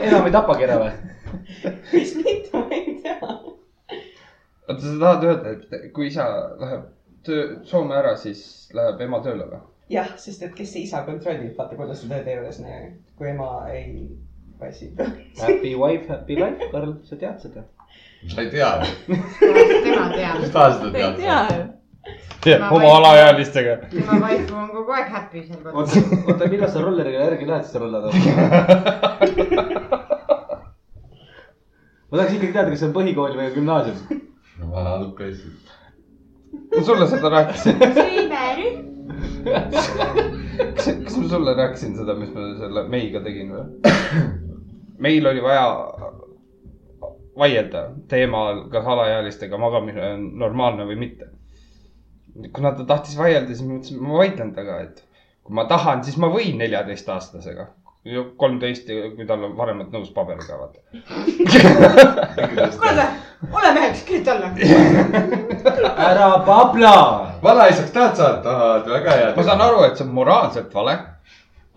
enam ei tapagi ära või ? mis mitu ma ei tea . oota , sa tahad öelda , et kui isa läheb töö , Soome ära , siis läheb ema tööle või ? jah , sest et kes see isa kontrollib , vaata kuidas sa tööd ei juures näe , kui ema ei passi . Happy wife , happy life , Karl , sa tead seda ? sa ei tea , tema mis teab . tahes sa ei tead . tea , oma alaealistega . tema vaipu on kogu aeg happy seal kodus . oota , oota , millal sa rolleriga järgi lähed siis rullada ? ma tahaks ikkagi teada , kas see on põhikool või gümnaasium . ma algklassis . ma sulle seda rääkisin , sõimerühm . kas , kas ma sulle rääkisin seda , mis ma selle meiga tegin või ? meil oli vaja vaielda teemal , kas alaealistega magamine on normaalne või mitte . kuna ta tahtis vaielda , siis ma mõtlesin , et ma vaidlen temaga , et kui ma tahan , siis ma võin neljateistaastasega . kolmteist , kui tal on vanemad nõus paberiga , vaata . kuule , ole meheks , kirjuta alla . ära babla . vanaisaks tahad saada ? tahad , väga hea . ma saan aru , et see on moraalselt vale ,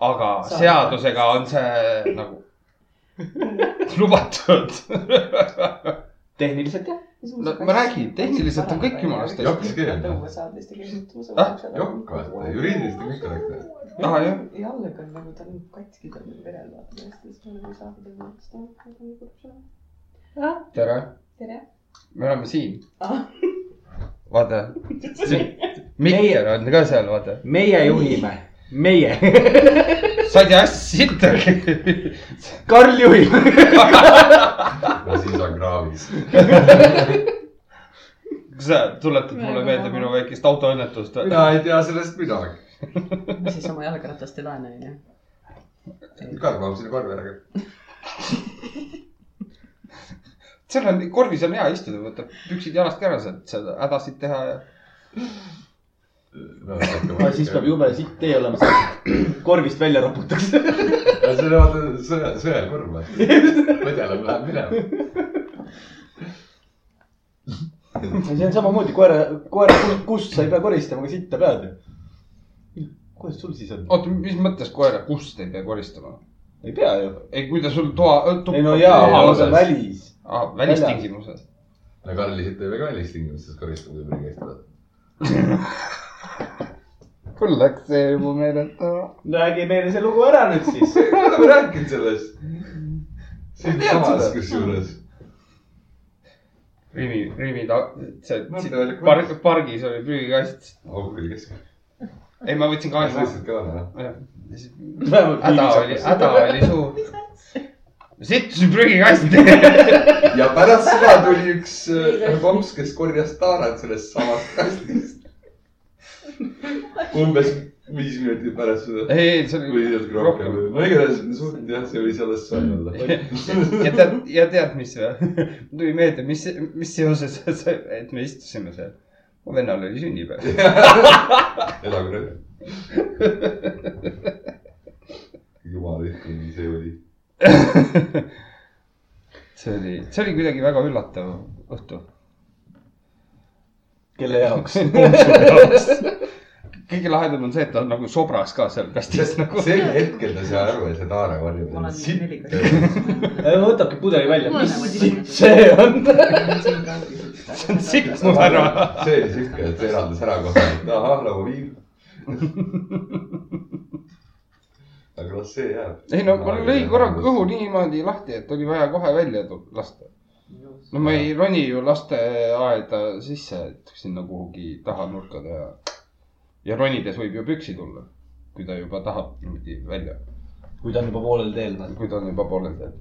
aga Saab. seadusega on see nagu lubatud . tehniliselt jah . no ma räägin , tehniliselt on kõik jumalast hästi . Jops keel. Ah, jokk , vaata , juriidiliselt on kõik korrektne . Ah, jah. jalg on nagu tal on katki , tal on verel vaata , siis ta nagu ei saa teda maksta . tere , tere . me oleme siin Ah. . vaata , Meier on ka seal , vaata . meie juhime , meie . sa ei tea sittagi . Karl juhib . no siis on kraavis . sa tuletad mulle meelde minu väikest autoõnnetust või ? mina ei tea sellest midagi . ma siis oma jalgratast ei laena , onju . Karl paneb sinna korvi ära . seal on , korvis on hea istuda , võtad püksid jalast ära , saad seal hädasid teha ja . Ah, siis peab . jube sitt tee olema , siis korvist välja raputakse . see on vaata sõja , sõjakorv . põdeleb , läheb minema . see on samamoodi koera , koera ku- kust sa ei pea koristama , aga sitta pead ju . kuidas sul siis on ? oota , mis mõttes koera kust ei pea koristama ? ei pea ju . ei , kui ta sul toa , ei no jaa , Jaa, aga ma alles. saan välis . ah, . välistingimused . no Karli siit teeb ka välistingimustes koristamise mingi hästi vaata . küll läks see juba meelelt ära . räägi meile see lugu ära nüüd siis . me oleme rääkinud sellest . Ma siin tean samas seda. kusjuures . Rimi , Rimi ta , see Mõtle siin välja, park , pargis oli prügikast . auk oli keskel . ei , ma võtsin sa kaasa . lihtsalt ka noh. oled . häda oli , häda oli suur . sittusin prügikasti . ja pärast seda tuli üks äh, komps , kes korjas taarat sellest samast kastist . umbes viis minutit pärast seda ei , ei , see või oli natuke rohkem . no igatahes suht jah , see võis alles soe olla . ja tead , ja tead , mis või ? tuli meelde , mis , mis seoses , et me istusime seal . mu vennal oli sünnipäev . elagu nüüd . jumala ühtne , nii see oli . see oli , see oli kuidagi väga üllatav õhtu . kelle jaoks ? kõige lahedam on see , et ta on nagu sobras ka seal kastis sest nagu . sel hetkel ta sai aru , et see taara korjab . ma olen sitt nelikümmend . võtabki pudeli välja , Mul mis on nagu sitt niimoodi. see on ? see on sitt mu härra . see oli siuke , et see eraldas ära kohe , et ahah , nagu viim . aga noh , see jääb . ei no mul lõi korra kõhu . niimoodi lahti , et oli vaja kohe välja tu- lasta . no ma ei roni ju lasteaeda sisse , et sinna kuhugi taha nurka teha . ja ronides võib ju püksi tulla , kui ta juba tahab niimoodi välja , kui ta on juba poolel teel . okei kui ta on juba poolel teel .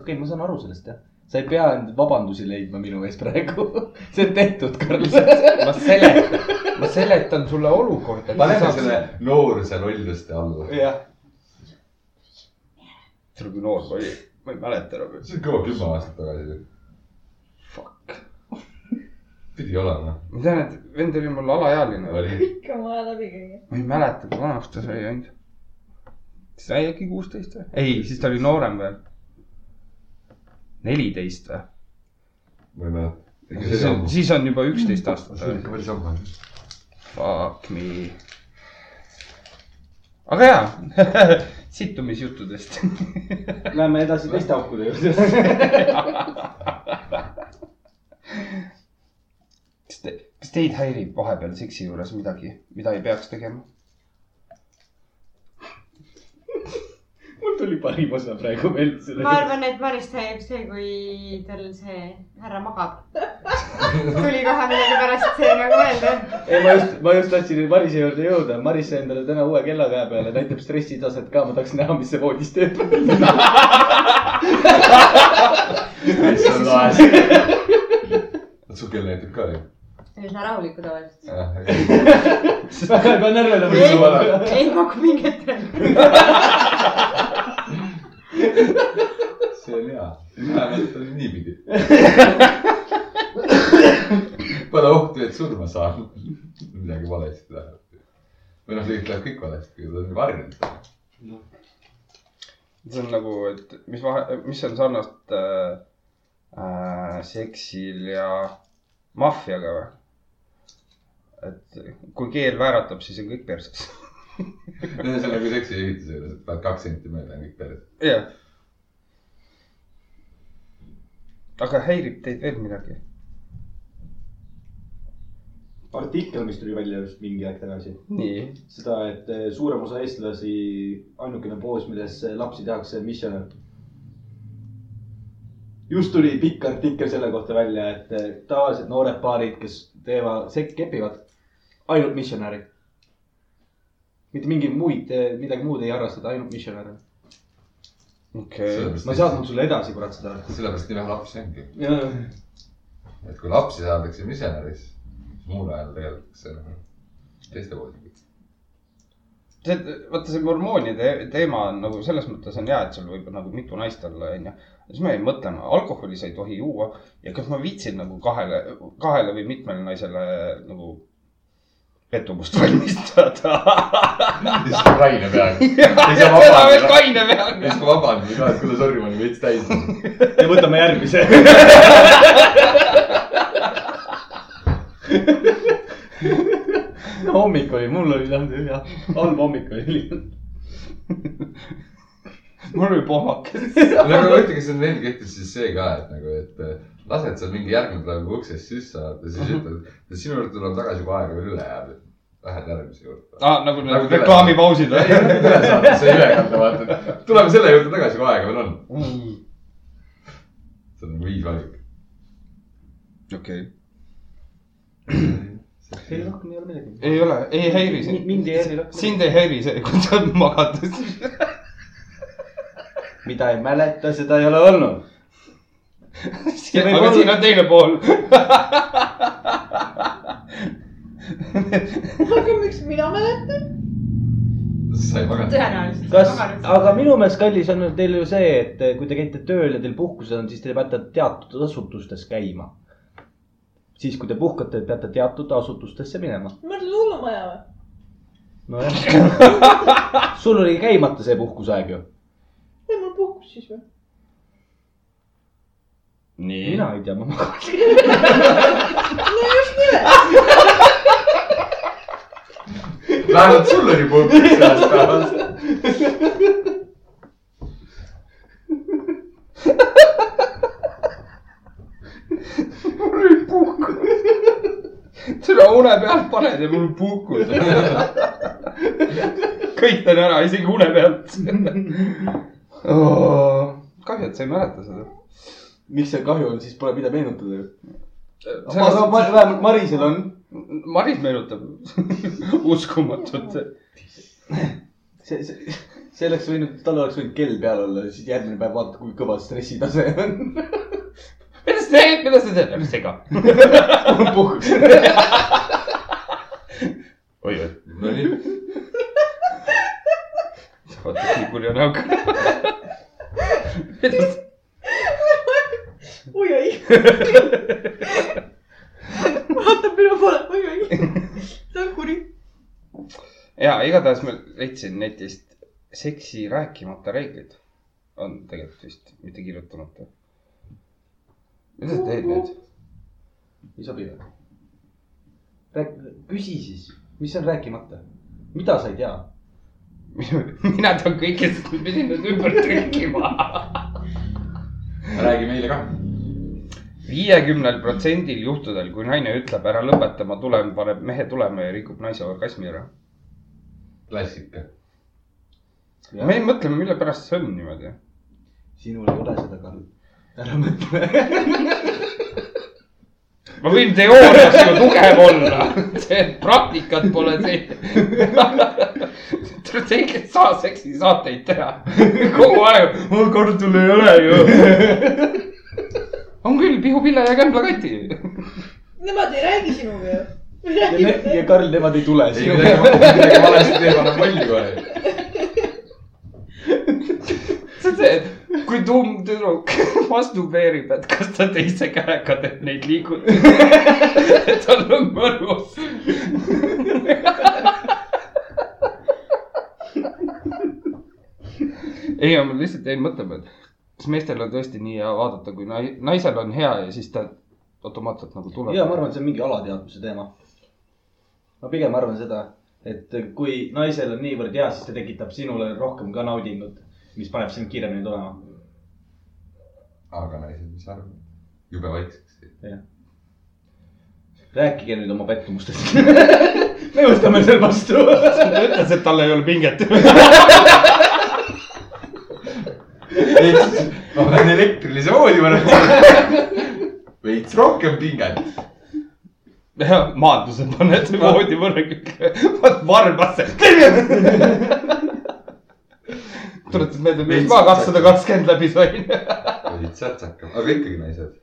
okay, , ma saan aru sellest jah . sa ei pea end vabandusi leidma minu ees praegu . see on tehtud , Karl . ma seletan , ma seletan sulle olukorda . paneme selle nooruse lolluste alla . jah , see oli kui noor ma olin , ma ei mäleta enam . see on kõva kümme aastat tagasi . Fuck . pidi olema . ma tean , et vend oli mul alaealine oli . oli . ikka on vaja läbi käia . ma ei mäleta , kui vanaks ta sai ainult . siis sai äkki kuusteist või ? ei , siis ta oli noorem veel . neliteist või ? ma ei siis on , mäleta . siis on juba üksteist aastat see on olnud . ikka päris ammu . Fuck me . aga jaa , situmisjuttudest . Lähme edasi teiste aukude juurde . kas te , kas teid häirib vahepeal seksi juures midagi , mida ei peaks tegema ? mul tuli parim osa praegu meelde ma . arvan , et Marist häirib see , kui tal see härra magab . tuli kohe millegipärast see nagu meelde . ei , ma just , ma just tahtsin Marise juurde jõuda . Maris sai endale täna uue kella käe peale , näitab stressitaset ka . ma tahaks näha , mis see voodis teeb . su kell näitab ka Ah, ju . üsna rahulikku tavaliselt . väga juba närveline . ei maku mingi hetk . see on hea , mina mäletan niipidi . Pole ohtu , et surma saan . midagi valesti läheb . või noh , tegelikult läheb kõik valesti , kui ta on varjunud . see on nagu , et mis vahe , mis on sarnast äh, äh, seksil ja maffiaga või ? et kui keel vääratab , siis on kõik perses . ühesõnaga seksi ehituse juures , et paned kaks senti mööda ja kõik peres . jah . aga häirib teid veel midagi ? artikkel , mis tuli välja just mingi aeg tagasi . nii . seda , et eh, suurem osa eestlasi ainukene poos , milles eh, lapsi tehakse , on missionär . just tuli pikk artikkel selle kohta välja , et eh, tavaliselt noored paarid , kes teevad , kepivad ainult missionäri . mitte mingeid muid , midagi muud ei harrastata , ainult missionäre . okei okay. . ma ei saatnud sulle edasi , kurat , seda . sellepärast nii vähe lapsi ongi , et kui lapsi saadakse misjonäris , siis muul ajal tegeletakse nagu teiste pooltega . see , vaata see hormoonide teema on nagu selles mõttes on hea , et sul võib nagu mitu naist olla , onju . siis ma jäin mõtlema , alkoholi sa ei tohi juua ja kas ma viitsin nagu kahele , kahele või mitmele naisele nagu pettumust valmistada . siis on kaine peal . siis on vabandus , kaine peal . siis on vabandus ka , et kuule , sorry , ma olin veits täis . ja võtame järgmise . no hommik oli , mul oli tähendab jah , halb hommik oli . mul oli pohmakas . no aga ma ütlengi , see on neil kehtib siis see ka , et nagu , et eh, lased seal mingi järgmine päev kui uksest sisse saad ja siis ütled , et sinu juurde tuleb tagasi , kui aeg veel üle jääb . Lähed järgmise juurde . Ah, nagu need reklaamipausid ei , või ? üle saad , see ülekande vaata , et tuleme selle juurde tagasi , kui aega veel on . Mm. see on nagu viis valik . okei . ei , rohkem ei ole midagi . ei ole , ei häiri sind . mind ei häiri rohkem . sind ei häiri see , kui sa magad . mida ei mäleta , seda ei ole olnud . See võib aga olla- siin on teine pool aga miks mina mäletan ? sa ei maganud . tõenäoliselt . kas , aga minu meelest , kallis on teil ju see , et kui te käite tööl ja teil puhkused on , siis te peate teatud asutustes käima . siis , kui te puhkate , peate teatud asutustesse minema . ma mõtlen hullumaja või ? nojah . sul oli käimata see puhkuseaeg ju . ei , mul puhkus siis või ? nii mina ei tea , ma magan . vähemalt sul oli puhkus sellest päevast . türa une pealt paned ja mul puhkus . kõik teen ära , isegi une pealt oh, . kahju , et sa ei mäleta seda . miks see kahju on , siis pole mida meenutada ju . aga Sellest... ma- vähemalt Marisel on . Maris meenutab uskumatut . see , see , see oleks võinud , tal oleks võinud kell peal olla , siis järgmine päev vaadata , kui kõva stressitase on . mida sa teed , mida sa teed , ära sega . puhkus . oi , oi , Nonii , vaata kui kurja näoga . oi-oi . vaatab minu poole , oi-oi . ta on kuri . ja igatahes ma leidsin netist seksi rääkimata reeglid . on tegelikult vist mitte kirjutamata . mida sa teed nüüd ? ei sobi või ? rääk- , küsi siis , mis on rääkimata , mida sa ei tea ? mina pean kõigest mesinad ümber trükkima . räägi meile ka . viiekümnel protsendil juhtudel , kui naine ütleb ära lõpeta , ma tulen , paneb mehe tulema ja rikub naise orgasmi ära . klassika . me mõtleme , mille pärast see on niimoodi . sinul ei ole seda ka . ära mõtle . ma võin teoorias ju tugev olla , see praktikat pole see . tegelikult sa seksisaateid teha kogu aeg , mul kordul ei ole ju . on küll , Pihu Pille ja Kämbla Kati . Nemad ei räägi sinuga ju . me ja räägime . Karl , nemad ei tule ei , sinuga . midagi valesti teeb , annab molli kohe . see on see , et kui tuum tüdruk masturbeerib , et kas ta teise käega teeb neid liigutusi . tal on mõnus . ei , ma lihtsalt jäin mõtlema , et kas meestel on tõesti nii hea vaadata , kui nai- naisel on hea ja siis ta automaatselt nagu tuleb . ja ma arvan , et see on mingi alateadvuse teema . ma pigem arvan seda , et kui naisel on niivõrd hea , siis see tekitab sinule rohkem ka naudingut , mis paneb sind kiiremini tulema . aga naised , mis sa arvad ? jube vaikseks . rääkige nüüd oma pettumustest . me võtame selle vastu . ta ütles , et tal ei ole pinget . ma pean elektrilise voodi panema . veits rohkem pinget . maadluse paned voodi võrra külge , vaat varbasse . tuletas meelde , miks ma kakssada kakskümmend läbi sain . olid särtsakam , aga ikkagi naised .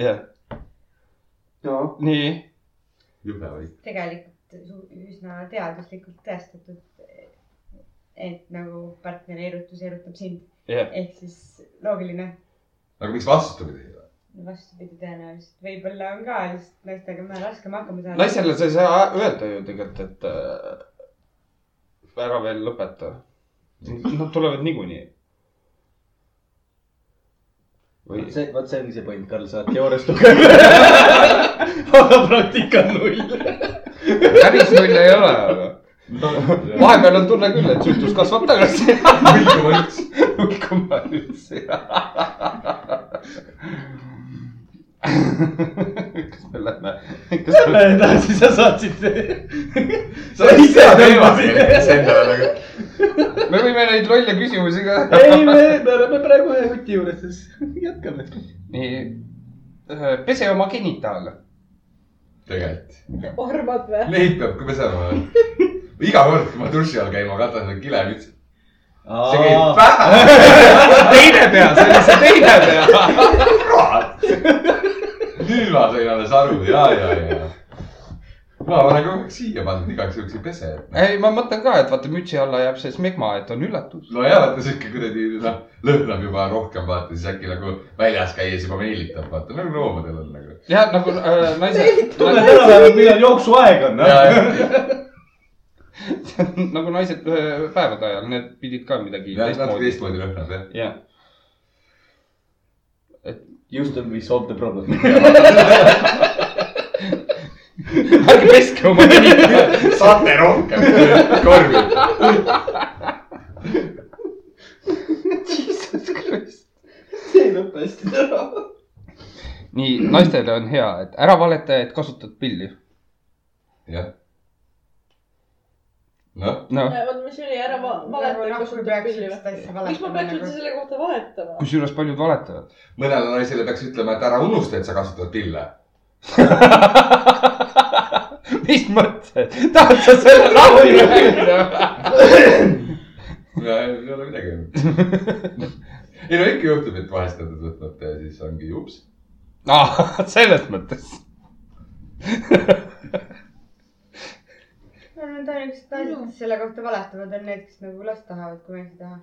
jah , no nii . jube vaikne . tegelikult su- üsna teaduslikult tõestatud , et nagu partneri erutus erutab sind . Jah. ehk siis loogiline , aga miks vastupidi ei ole ? vastupidi tõenäoliselt , võib-olla on ka lihtsalt naistega vähe raskem hakkama saada . naisele sa ei saa öelda ju tegelikult , et äh, ära veel lõpeta . Nad tulevad niikuinii . või vot see , vot see ongi see point , Karl , sa oled teoorias tugev . aga praktika on null . päris null ei ole , aga vahepeal on tunne küll , et süütus kasvab tagasi . vahepeal . null koma üks . kas me lähme , kas me , edasi , sa saatsid . sa oled ise teemasid endale nagu . me võime neid lolle küsimusi ka . ei , me , me oleme praegu ühe huti juures , siis jätkame . nii , pese oma genitaale . tegelikult , ormad või ? neid peab ka pesema . iga kord , kui ma duši all käin , ma katan selle kile vitsi . see käib pähe . teine pea , see oli see teine pea . nüüd ma sain alles aru ja , ja , ja . ma olen kogu aeg siia pannud igaks juhuks ei pese . ei , ma mõtlen ka , et vaata mütsi alla jääb see smegma , et on üllatus . no ja vaata siuke kuradi , noh , lõhnab juba rohkem , vaata siis äkki nagu väljas käies juba meelitab , vaata nagu loomadel on nagu . jah , nagu äh, naised , tunned ära vähemalt , millal jooksuaeg on . noh. nagu naised äh, päevade ajal , need pidid ka midagi jah , teistmoodi . natuke teistmoodi lõhnab jah . jah , Houston , we solved the problem . ärge peske oma genitaale . saate rohkem korvi . see ei lõpe hästi ära . nii , naistele on hea , et ära valeta , et kasutad pilli . jah . noh , noh , oota , mis see oli , ära va- valeta , Nagu kas kui sul peaks tuleb pilli seda asja või ? valetama miks ma peaks nagu? üldse selle kohta valetama ? kusjuures paljud valetavad . mõnele naisele peaks ütlema , et ära unusta , et sa kasutad pille . mis mõttes , tahad sa selle lahti rääkida ? ei ole midagi . ei no ikka juhtub , et vahest nad võtavad ja siis ongi ups . aa , Ah, selles mõttes . no need ainukesed naised , kes selle kohta valetavad , on need , kes nagu last tahavad , kui mees ei taha .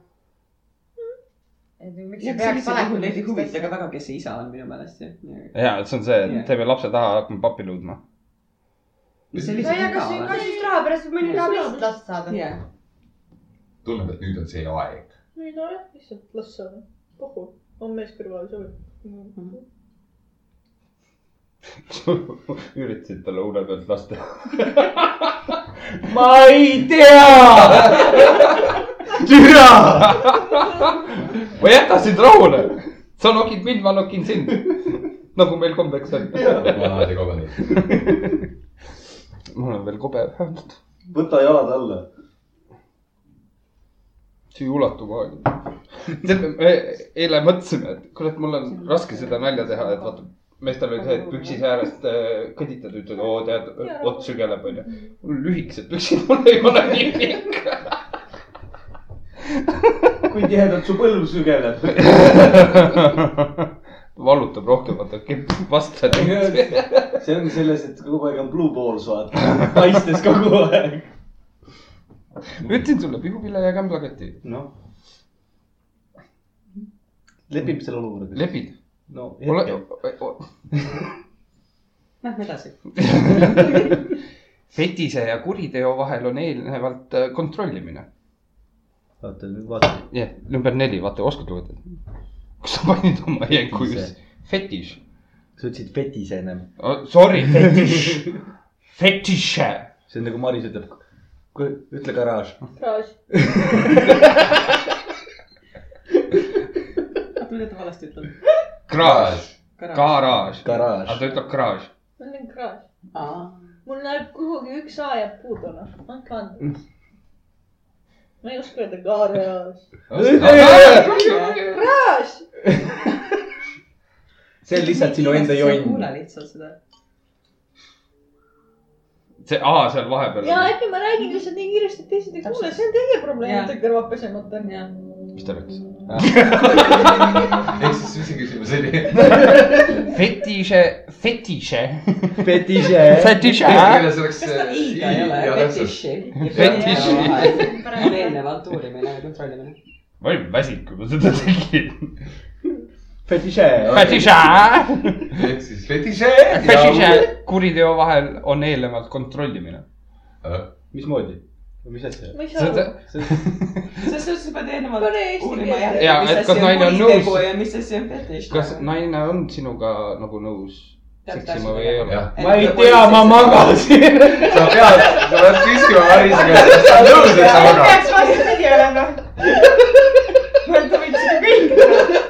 et nagu miks sa peaks mul ei valetama huvita ka üksteist . väga , kes see isa on minu meelest ju . ja , see on see , Jah. et teeme lapse taha , hakkame pappi luudma . mis see no ja lihtsalt kas , iga kas siis raha pärast mõni Jaa. tahab lihtsalt last saada on ? jah , tunneb , et nüüd on see aeg . ei no jah , lihtsalt las see on . puhu , on mees kõrval , sobib . Mhm. üritasid talle une pealt lasta . ma ei tea . türa . ma ei jäta sind rahule . sa nokid mind , ma nokin sind . nagu meil kombeks on . vanad ja kobedad . mul on veel kobe vähemalt . võta jalad alla . see ei ulatu maailma . me eile mõtlesime , et kurat , mul on raske seda nalja teha , et vaata , meestel oli see , et püksis äärest äh, kõditad , ütled , oo tead , ots sügeleb , onju . mul on lühikesed püksid , mul ei ole nii pikk . kui tihedalt su põlv sügeleb . vallutab rohkem , vaata , kipp vastu . see on selles , et kogu aeg on blue balls vaata , paistes kogu aeg . ütlesin sulle , pihupille ja kämblaketi . noh . lepime selle olukorraga . lepid ? no ole hetkel ,, Lähme edasi . petise ja kuriteo vahel on eelnevalt äh, kontrollimine . vaata nüüd vaata . jah yeah, , number neli , vaata , oskad lugeda ? kas sa panid oma jänku Petise. just ? fetiš . sa ütlesid fetis ennem . Sorry , fetiš . fetiše . see on nagu Maris ütleb , ütle garaaž . garaaž . ma tunnen , et ma valesti ütlen . garaaž , garaaž . Garaaž. aga ta ütleb garaaž . ma olen garaaž . aa , mul läheb kuhugi üks A jääb puudu , noh . andke andeks . ma ei oska öelda garaaž . Noh, garaaž . see on lihtsalt sinu enda jonn . kuula lihtsalt seda . see A seal vahepeal ja oli . äkki ma räägin lihtsalt nii kiiresti , et teised ei kuule , see on teie probleem , et teil kõrvad pesemata on . mis ta rääkis ? ehk siis mis see küsimus oli ? fetiše , fetiše . fetiše . fetiše . eesti keeles oleks kas ta i-ga ei ole ? see . fetiši . Fetiši. on eelnevalt uurimine ja kontrollimine . ma olin väsinud , kui ma seda tegin . fetiše . fetiše . ehk siis fetiše . fetiše . kuriteo vahel on eelnevalt kontrollimine . mismoodi ? mis asja ? ma ei saa aru . see sest sa ütlesid , et pead eelnevalt Pane eesti uurima keelde. jah . Jaa, et kas naine on nõus- ja mis asi on fetiš . kas naine on sinuga nagu nõus Tead, seksima või ei ole jah ?, ma ei tea , ma . magasin . sa pead , sa pead küsima Marise käest , kas ta on nõus , et sa magad . peaks vastupidi olema . mõelda võiks ju kõik .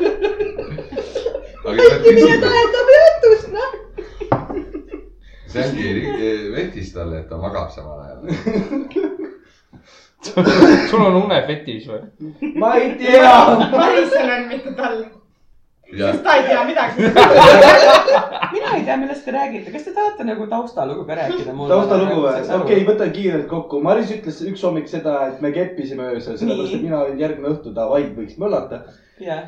aga sa pead mine küsima , toetab jutust , noh . see ongi ri- vetis talle , et ta magab samal ajal . sul on unefetiš või ? ma ei tea . Marisel on , mitte tal , ja sest ta ei tea midagi . mina ei tea , millest te räägite , kas te tahate nagu taustalugu ka rääkida ? nagu taustalugu või ? okei , võtan kiirelt kokku . Maris ütles üks hommik seda , et me keppisime öösel , sellepärast et mina olin järgmine õhtu , davai , võiks möllata . jah ,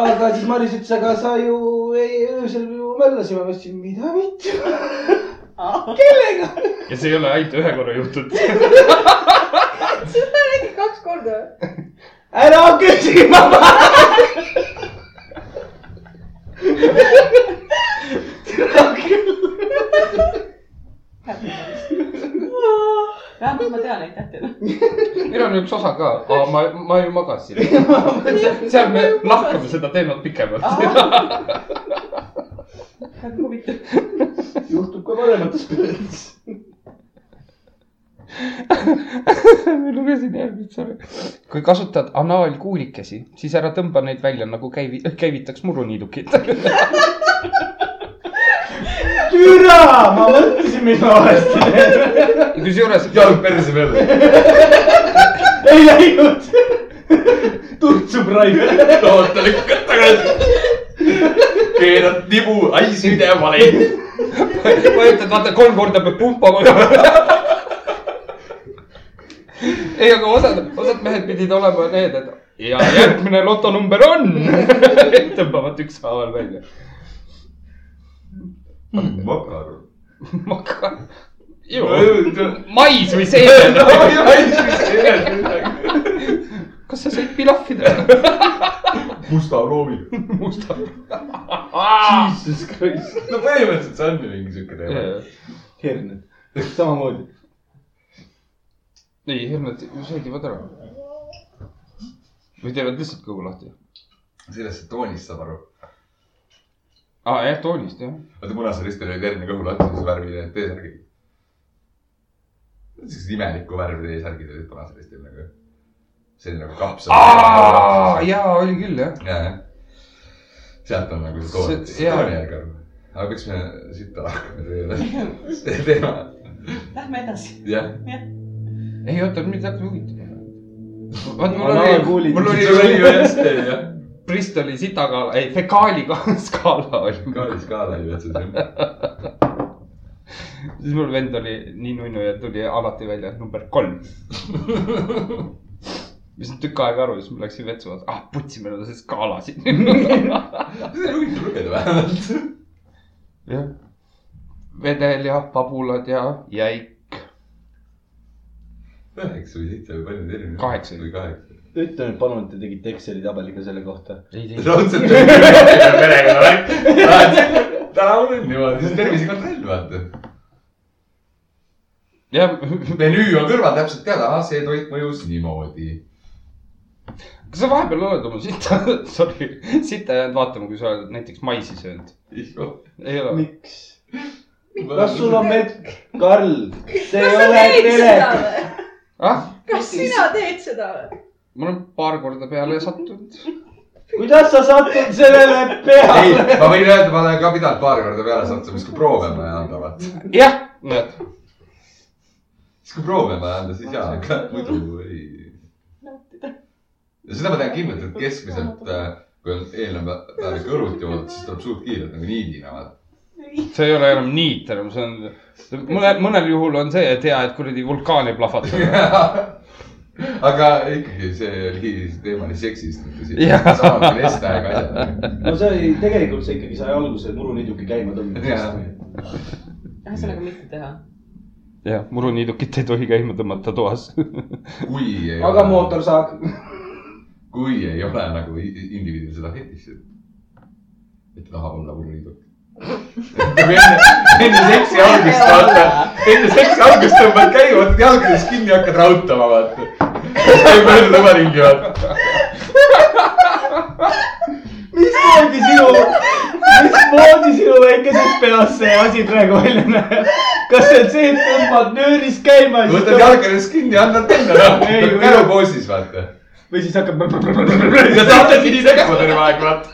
aga siis Maris ütles , aga sa ju ei, öösel ju möllasime . ma ütlesin , mida vittu . kellega ? ja see ei ole ainult ühe korra juhtunud . seda räägid kaks korda . ära küsi , ma vähemalt ma tean neid tähti . meil on üks osa ka , ma , ma ju magasin . seal me lahkame seda teemat pikemalt . väga huvitav . juhtub ka paremates peres . ma lugesin järgmist sõna . kui kasutad anaalkuulikesi , siis ära tõmba neid välja nagu käivi- , käivitaks muruniidukit . türa , ma mõtlesin , mis ma valesti teen . kusjuures jalg perse peale . ei läinud . tutsu praegu . oota , lükkad tagasi . keerad nibu , ai süde vale . vajutad , vaata kolm korda peab pumpama . ei , aga osad , osad mehed pidid olema need , et ja järgmine lotonumber on . tõmbavad ükshaaval välja . makar . maka , mais või seen . kas sa sõid pilahvi täna ? musta loomi . musta . Jesus Christ . no põhimõtteliselt see on ju mingi siuke teema . herned , samamoodi . ei , Helmet sõidivad ära . või teevad lihtsalt kõhu lahti . sellest see toonist saab aru . aa , Ah, jah , toonist jah . vaata Punasel Ristil olid erineva kõhulahtimise värvi need T-särgid . siuksed imelikku värvi T-särgid olid Punasel Ristil nagu . selline nagu kapsel . jaa , oli küll jah . jah . sealt on nagu see See- toon , jaa. tooni järg on . aga miks me siit ära hakkame selle teema , Lähme edasi . jah . ei oota , mind hakkab huvitama . vaat mul Anal oli , kuulid. mul mul oli ju oli , hästi , jah . Bristoli sitakaala , ei fekaali ka- skaala oli . kaalis kaala ei võtnud jah . siis mul vend oli nii nunnu ja tuli alati välja , et number kolm . mis nüüd tükk aega aru , siis ma läksin vetsu , ah putsi , meil on see skaala siin . see oli huvitav lugeda vähemalt . jah , vedel ja pabulad ja jäik . üheksa või seitse või palju neid erinevaid ? Kaheksa. või kaheksa . ütle nüüd palun , et te tegite Exceli tabeli ka selle kohta . raudselt oli perega värk . täna on õnn niimoodi , siis tervisekontroll vaata . jah , menüü on kõrval täpselt teada , ahah , see toit mõjus niimoodi . kas sa vahepeal oled oma sita , sorry , sita jäänud vaatama , kui sa oled näiteks maisi söönud ? ei ole . miks ? kas sul on met- , Karl , see ei ole telekas . või ? ah , kas sina teed seda või ? ma olen paar korda peale sattunud . kuidas sa satud sellele ei peale ?, ma võin öelda , ma olen ka pidanud paar korda peale sattumist , kui proove on vaja anda , vaata . jah , näed , siis kui proove on vaja anda , siis jaa , aga muidu ei . ja seda ma tean kindlalt , et keskmiselt , kui on eelnev päev ikka õlut joodud , siis tuleb suht kiirelt nagu niidina , vaata . see ei ole enam niit enam , see on , mõnel , mõnel juhul on see , et hea , et kuradi vulkaani plahvatada . aga ikkagi see oli , see teema oli seksist . Jah. samal ajal Estajaga asjad . no see oli , tegelikult see ikkagi sai alguse muruniiduki käima Jaa. tõmbamisest . ühesõnaga mitte teha . jah , muruniidukit ei tohi käima tõmmata toas . kui ei aga . mootorsaag . kui ei ole nagu i- i- indiviidil seda fetiši , et tahab olla muruniiduk . enne seksi algust vaata , enne seksi algust tõmbad käima , võtad jalgades kinni ja hakkad raudtama vaata . ei mõelda oma ringi vaata . mismoodi sinu , mismoodi sinu väikeses peas see asi praegu välja näeb ? kas see on see , et tõmbad nööris käima ja siis võtad tõmbad jalgades kinni ja annad minna Ei, noh või- , kärupoosis vaata . või siis ja hakkab . tahad kinni tegema terve aeg vaata .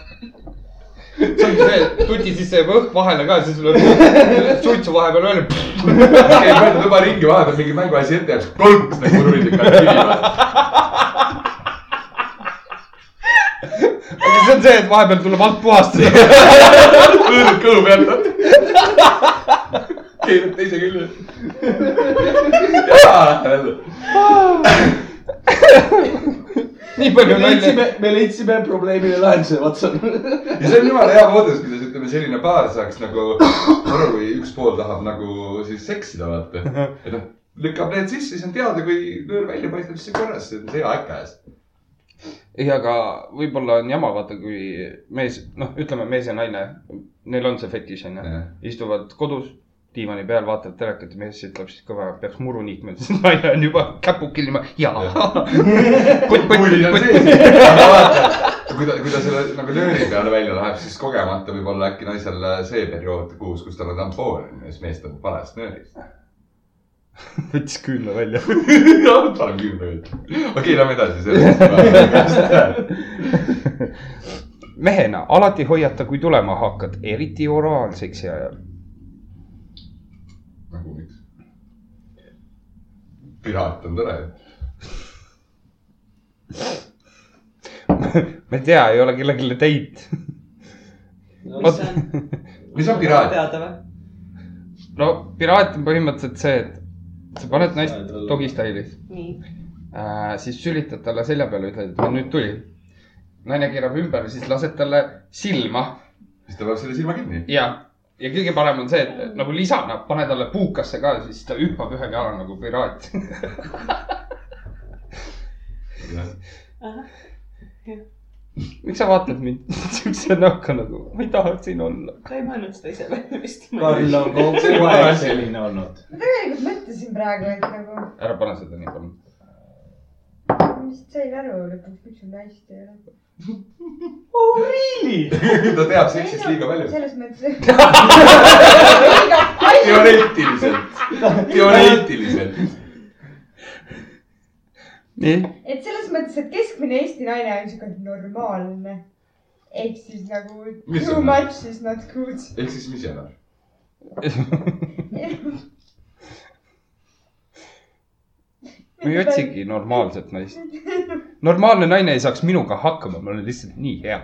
see on see , tuti sisse jääb õhk vahele ka , siis lööb suitsu vahepeal välja . ei mõelda oma ringi vaata , mingi mänguasi ette jääb , kolks nagu muruniiduk on kinni vaata . aga see on see , et vahepeal tuleb alt puhastada . hõõrud kõhu pealt vaata . keerad teise külje . jaa , jälle nii me palju nalja . leidsime , me leidsime probleemile lahenduse , Watson . ja see on jumala hea moodus , kuidas ütleme , selline paar saaks nagu aru , kui üks pool tahab nagu siis seksida , vaata . et noh , lükkab need sisse , siis on teada , kui nöör välja paistab , siis on korras , see on see aeg käes . ei , aga võib-olla on jama , vaata , kui mees , noh , ütleme mees ja naine , neil on see fetiš , onju . istuvad kodus diivani peal , vaatavad telekat ja mees ütleb siis kõva , peaks muru niitma , siis naine on juba käpukil niimoodi , jaa . kutt , kutt , pull on kutt , sees , aga vaata , kui ta , kui ta selle nagu nööri peale välja läheb , siis kogemata võib-olla äkki naisel äh, see periood kuus , kus tal on tampoon on ju , siis mees tõmbab valest nöörist . võttis küünla välja . palun kümme minutit . okei , lähme edasi sellest . mehena alati hoiata , kui tulema hakkad , eriti oraalseksi ajal . nagu miks ? piraat on tore ju . ma ei tea , ei ole kellelegi teid . mis see on ? mis on piraat ? teada või ? no piraat on põhimõtteliselt see , et sa paned naist dogistailis nii . äh, , siis sülitad talle selja peale , ütled , et no nüüd tuli . naine keerab ümber , siis lased talle silma siis ta peab selle silma kinni . ja , ja kõige parem on see , et nagu lisana pane talle puukasse ka , siis ta hüppab ühe jala nagu piraat . miks sa vaatad mind siukse näoga nagu , ma ei taha siin olla . ta ei mõelnud seda ise välja vist . Karl on kogu aeg selline olnud . ma tegelikult mõtlesin praegu , et nagu , ära pane seda nii palun . ma vist sain aru lõpuks , miks sul naist ei ole . ta teab seksist liiga palju . selles mõttes , teoreetiliselt , teoreetiliselt . nii , et selles mõttes , et keskmine Eesti naine on siuke normaalne . ehk siis nagu Mis too on? much is not good . ehk siis misjonär . ma ei otsigi normaalset naist . normaalne naine ei saaks minuga hakkama , ma olen lihtsalt nii hea .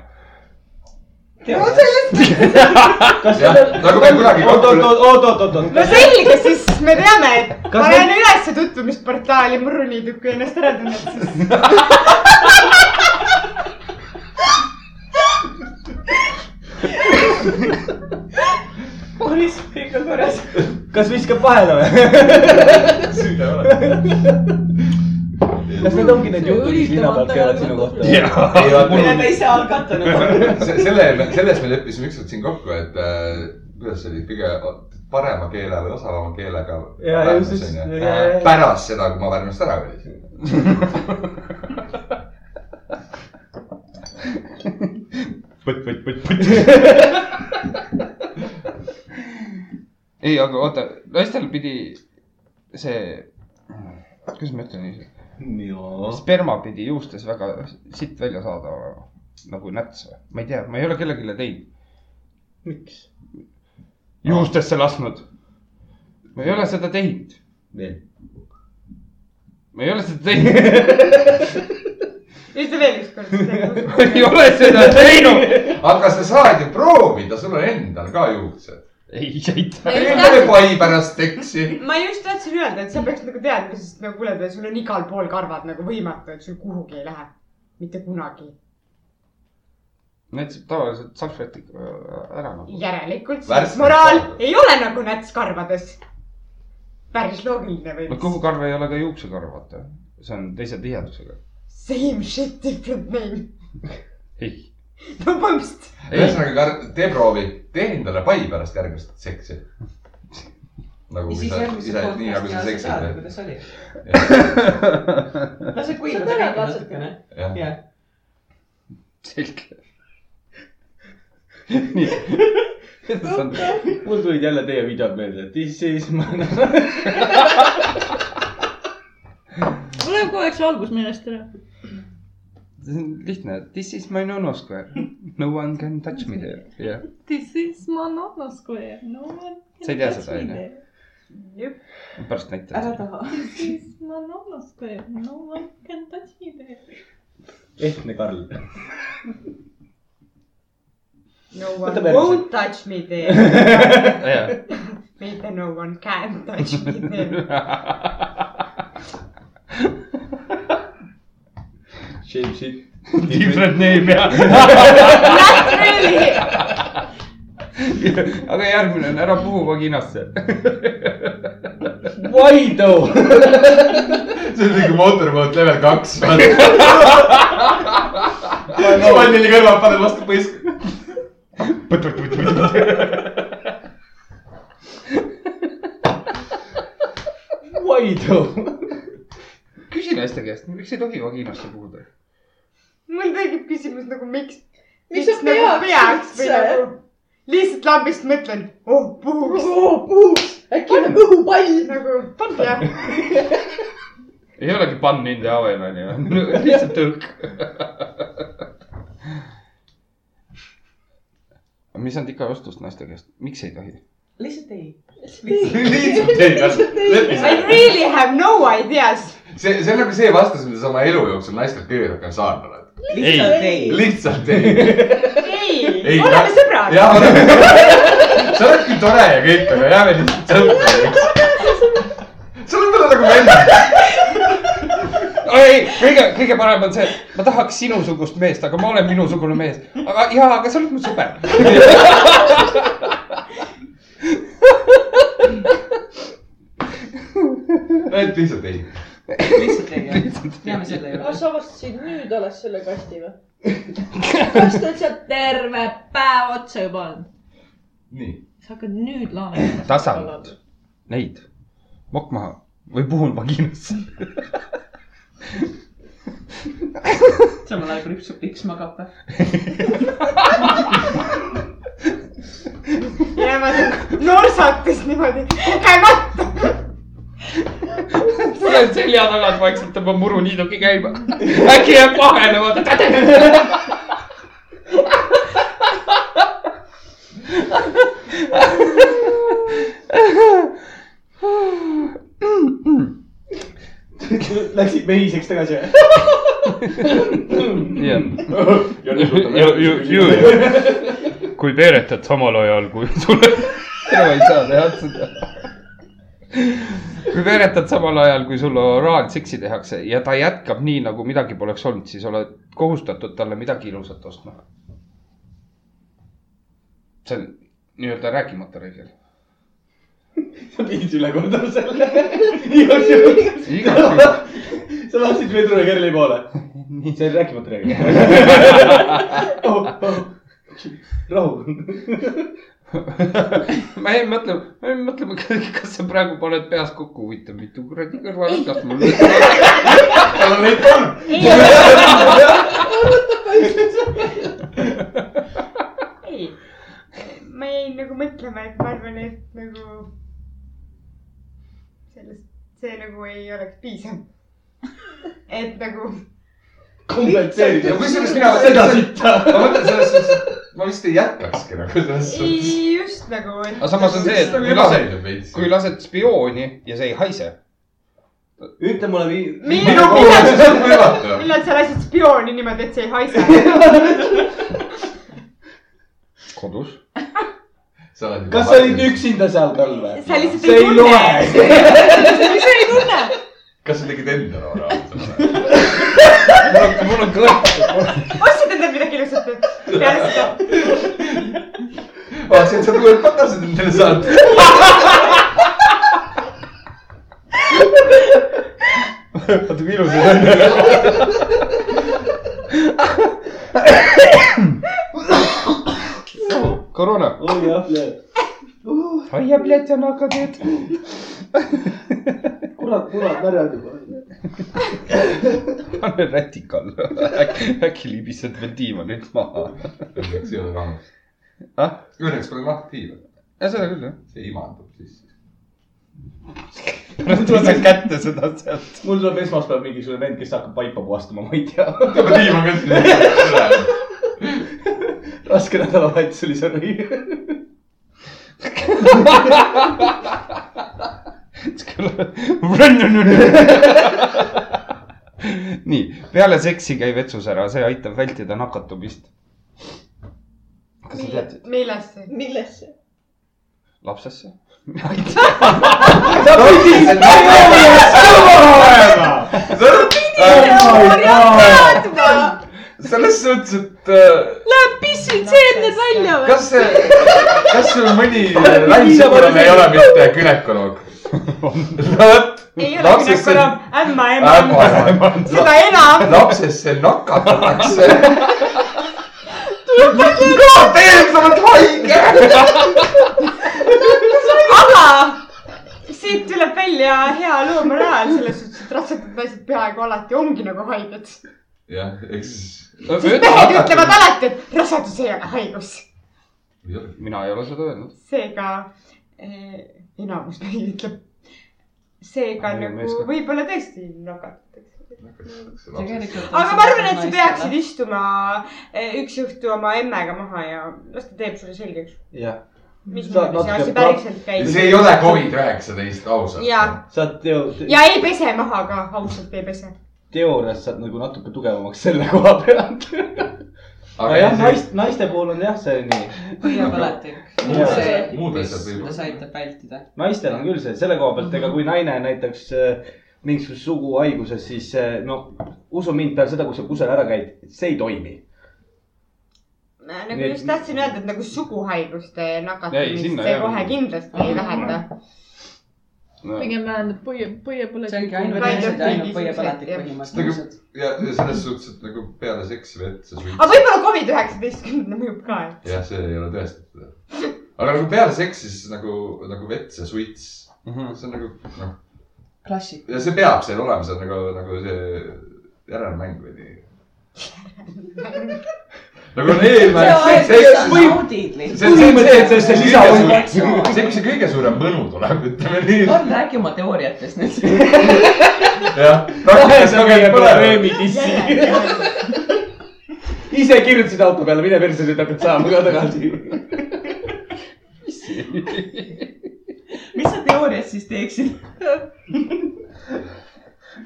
no sellest , kas jah , nagu me kunagi oot , oot , kokku , oot , oot , oot , oot , oot . no selge , siis me teame , et Kas panen ülesse tutvumisportaali murruniiduk ja ennast ära tunned siis . Paulis , kõik on korras . kas viskab vahele või ? süüa ei ole . kas need ongi need jutud , mis linna pealt käivad sinu kohta ? ei , vaata , mille ta ise all kattunud on . Se- selle , selles me leppisime ükskord siin kokku , et äh, kuidas see oli , kõige parema keele või osavama keelega . Jaa, just, just, jaa, jaa, jaa. pärast seda , kui ma Pärnust ära kolisin . põtt , põtt , põtt , põtt . ei , aga oota , naistel pidi see , kuidas ma ütlen niiviisi , sperma pidi juustes väga sitt välja saada nagu näts või ? ma ei tea , ma ei ole kellelegi teinud . miks ? juustesse lasknud . ma ei ole seda teinud , ma ei ole seda teinud , ütle veel ükskord . ma ei ole seda teinud . aga sa saad ju proovida , sul on endal ka juuksed . ei aita . teeme pai pärast teksi . ma just tahtsin öelda , et sa peaks nagu teadma , sest nagu kuuled , sul on igal pool karvad nagu võimatu , et sul kuhugi ei lähe . mitte kunagi . näitas tavaliselt salvetiga ära nagu . järelikult siis Värsked moraal karvad. ei ole nagu näts karvades . päris loogiline või no ? kõhukarv ei ole ka juuksekarv , vaata . see on teise tihedusega . Same shit , different name . ei , no põhimõtteliselt . ühesõnaga , tee proovi , tee endale pai pärast järgmist seksi . ja nagu kui siis sa järgmise ise , nii nagu podcasti sa ajal sa tead , kuidas oli . lase selge . seksid . Saad kuivada ära kõik katsutada. natukene . jah , jah , nii . mul tulid jälle teie videod meelde , this is my . mul läheb kogu aeg see algus meelest ära . see on lihtne . This is my nono square . No one can touch me there . jah , This is my nonna square , no one . Sa ei tea seda, on ju? ? pärast ära näitan . taha . This is my nonna square , no one can touch me there . ehtne Karl . No one Võta perse. won't touch me there . jah . mitte no one can touch me there . Shame shit . Different name jah . Not really . aga järgmine on ära puhu vaginasse . Why though ? see on nagu Motorboat level kaks . pannili kõrvad paned vastu põisku . Why though ? küsi naiste käest , miks ei tohi vaginasse puhuda ? mul tekib küsimus nagu miks . Miks sa peaks või üldse? nagu lihtsalt lambist mõtlen , oh puhuks puhuks , äkki on õhupall . nagu jah , ei olegi pann in the oven on ju , lihtsalt õhk . mis on tika ostust naiste käest , miks ei tohi ? lihtsalt ei . lihtsalt ei tasu , I lepi . really have no ideas . see , see on nagu see vastus , mida sa oma elu jooksul naistelt kõige rohkem saanud oled . lihtsalt ei . lihtsalt ei . ei Ei, , oleme ma- sõbrad . jah , oleme . sa oled küll tore ja kõik , aga jääme lihtsalt sõpradeks . sa oled mulle nagu vend . ei , kõige , kõige parem on see , et ma tahaks sinusugust meest , aga ma olen minusugune mees . aga ja , aga sa oled mu sõber . et lihtsalt ei . lihtsalt ei ole . jääme selle juurde kas . sa avastasid nüüd alles selle kasti või ? kas ta on seal terve päev otsa juba olnud ? nii . sa hakkad nüüd laenama . tasand , neid , mokk maha või puhun vaginasse . samal ajal kui üks , üks magab või ? jäävad norsates niimoodi kogemata . tulen selja tagant vaikselt tõmban muruniiduki käima . äkki jääb vahele , vaata täde . Läksid mehiseks tagasi . jah . kui veeretad samal ajal , kui tuleb . sina ei saa teha seda . kui veeretad samal ajal , kui sulle oraalseksi tehakse ja ta jätkab nii , nagu midagi poleks olnud , siis oled kohustatud talle midagi ilusat ostma . see on nii-öelda rääkimata reegel . sa pidid üle kordama selle . igaks juhuks . igaks juhuks sa lasid vedrule Kerli poole . see oli rääkimata räägi . Oh, rahu . ma jäin mõtlema , ma jäin mõtlema , kas sa praegu paned peas kokku , huvitav , mitu kuradi kõrvalõigast mul nüüd tal on neid kolm . ei , ma jäin nagu mõtlema , et ma arvan , et nagu sellest , see nagu ei oleks piisav . et nagu kompenseerida ja . kusjuures mina , seda sitta . ma mõtlen selles suhtes , ma vist ei jätkakski nagu selles suhtes . ei, just nagu , et aga samas on see , et nagu kui lased , ebameeldiv veits . kui lased spiooni ja see ei haise . ütle mulle vii- minu millal , puhul on see suht võimatu . millal sa lasid spiooni niimoodi , et see ei haise ? kodus . kas sa olid ? üksinda seal tal või ? sa lihtsalt see ei ei tunne . loe . sa ei tunne . kas sa tegid enda laua raamatu ? mul on , mul on kõrv . ostsid endale midagi ilusat või? peale seda ? vaatasin , et sa tuled patasid endale saad . vaata kui ilus see on . koroona . oi jah , ai ja plets on hakanud . kurat , kurat , märjad juba . pane rätik alla . äkki , äkki libised veel diivanilt maha . õnneks ei ole rahvast . ah , õnneks pole lahti , seda küll jah . see imandub sisse . pärast võtad kätte seda sealt . mul tuleb esmaspäev mingisugune vend , kes hakkab vaipa puhastama , ma ei tea . tõmba diivan ka sinna . raske nädalavahetus oli see rõiv . nii , peale seksi käi vetsus ära , see aitab vältida nakatumist . kas sa tead ? millest see ? millesse ? lapsesse . selles suhtes , et äh, Läheb pissid seemned välja või ? kas see , kas sul mõni naissõbrane ei ole mitte günekoloog ? vot , ei ole lapsest see , künekolom , ämma ema . ämma , seda enam . lapsest see nakatatakse . kurat , tegelikult sa oled haige . aga siit tuleb välja hea loomoraal selles suhtes , et rasedad naised peaaegu alati ongi nagu haiged . sest jah , eks . mehed ütlevad alati , et rasedus ei ole haigus . mina ei ole seda öelnud . seega eh, enamus mehi ütleb . seega Mul on nagu meeskond. võib-olla tõesti nakatatakse . aga ma arvan , et sa peaksid istuma eh, üks õhtu oma emmega maha ja las ta teeb sulle selgeks , jah , mismoodi see natuke asi pra- päriselt käib . see ei ole Covid üheksateist , ausalt . Jaa. saad teo- , ja ei pese maha ka , ausalt ei pese . teoorias saad nagu natuke tugevamaks selle koha pealt . aga jah , naist , naiste puhul on jah see nii . põhjapõletik . Jaa. see , Muud mis asjad võib- mis aitab vältida . naistel on küll see , selle koha pealt , ega kui naine näiteks äh, mingisuguses suguhaiguses , siis äh, no usu mind , peale seda , kui sa kusagil ära käid , see ei toimi . Ma nagu Nii et- just tahtsin öelda , et nagu suguhaiguste Ei, sinna nakatumist ei see ole kohe mingi- kindlasti ei vähenda . pigem vähendab põie , põiepõletikku . see ongi ainult Välja naised ja ainult kõigi põhjapõletik siuksed, jah. põhimõtteliselt . ja , ja selles suhtes , et nagu peale seksi vetsa aga suitsu , võib-olla Covid üheksateistkümne mõjub ka . jah , see ei ole tõestatud . aga nagu peale seksi , siis nagu , nagu vetsa suits , see on nagu , noh , klassik . ja see peab seal olema , see on nagu , nagu see järelmäng või nii . nagu on eesmärk , see , see , see , naudid lihtsalt . see , see , see , Põhimõtteliselt lisa see kõige on suurem , täitsa. see , see kõige suurem mõnu tuleb , ütleme nii . on , räägi oma teooriatest nüüd . jah , praktikas ka käib põlema . ise kirjutasid auto peale , mine persse , nüüd hakkad saama ka tagasi . mis sa teoorias siis teeksid ?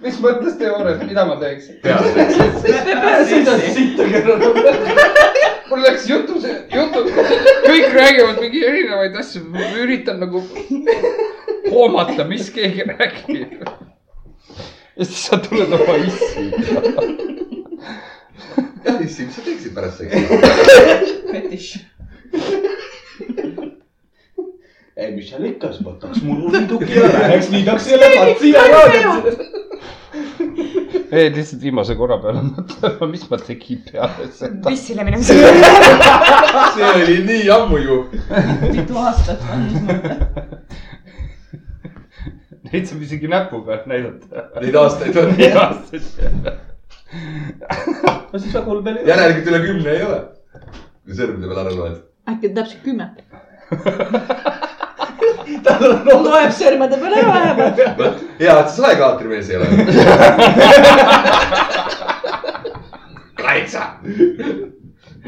mis mõttes teoorias , mida ma teeks ? tead , sõidad sitta kõrvale . mul läks jutus , jutud , kõik räägivad mingi erinevaid asju , ma üritan nagu hoomata , mis keegi räägib . ja siis sa tuled oma issi . jah , issi , mis sa teeksid pärast seksi ? fetiš . ei , mis seal ikka , siis võtaks mul ulmituki ja läheks liidaks selle patsi ja vaataks . ei , lihtsalt viimase korra peale mõtlema , mis ma tegin peale seda . pissile minemisega . see oli nii ammu ju . mitu aastat on Neid saab isegi näpuga näidata . Neid aastaid on . nii aastaid . no siis väga hull peal ei ole . järelikult üle kümne ei ole . kui sõrmede peal ära loed . äkki on täpselt kümme ? tal on mul loeb sõrmede peale ära vähemalt . hea , et sa saekaater mees ei ole . kaitsa .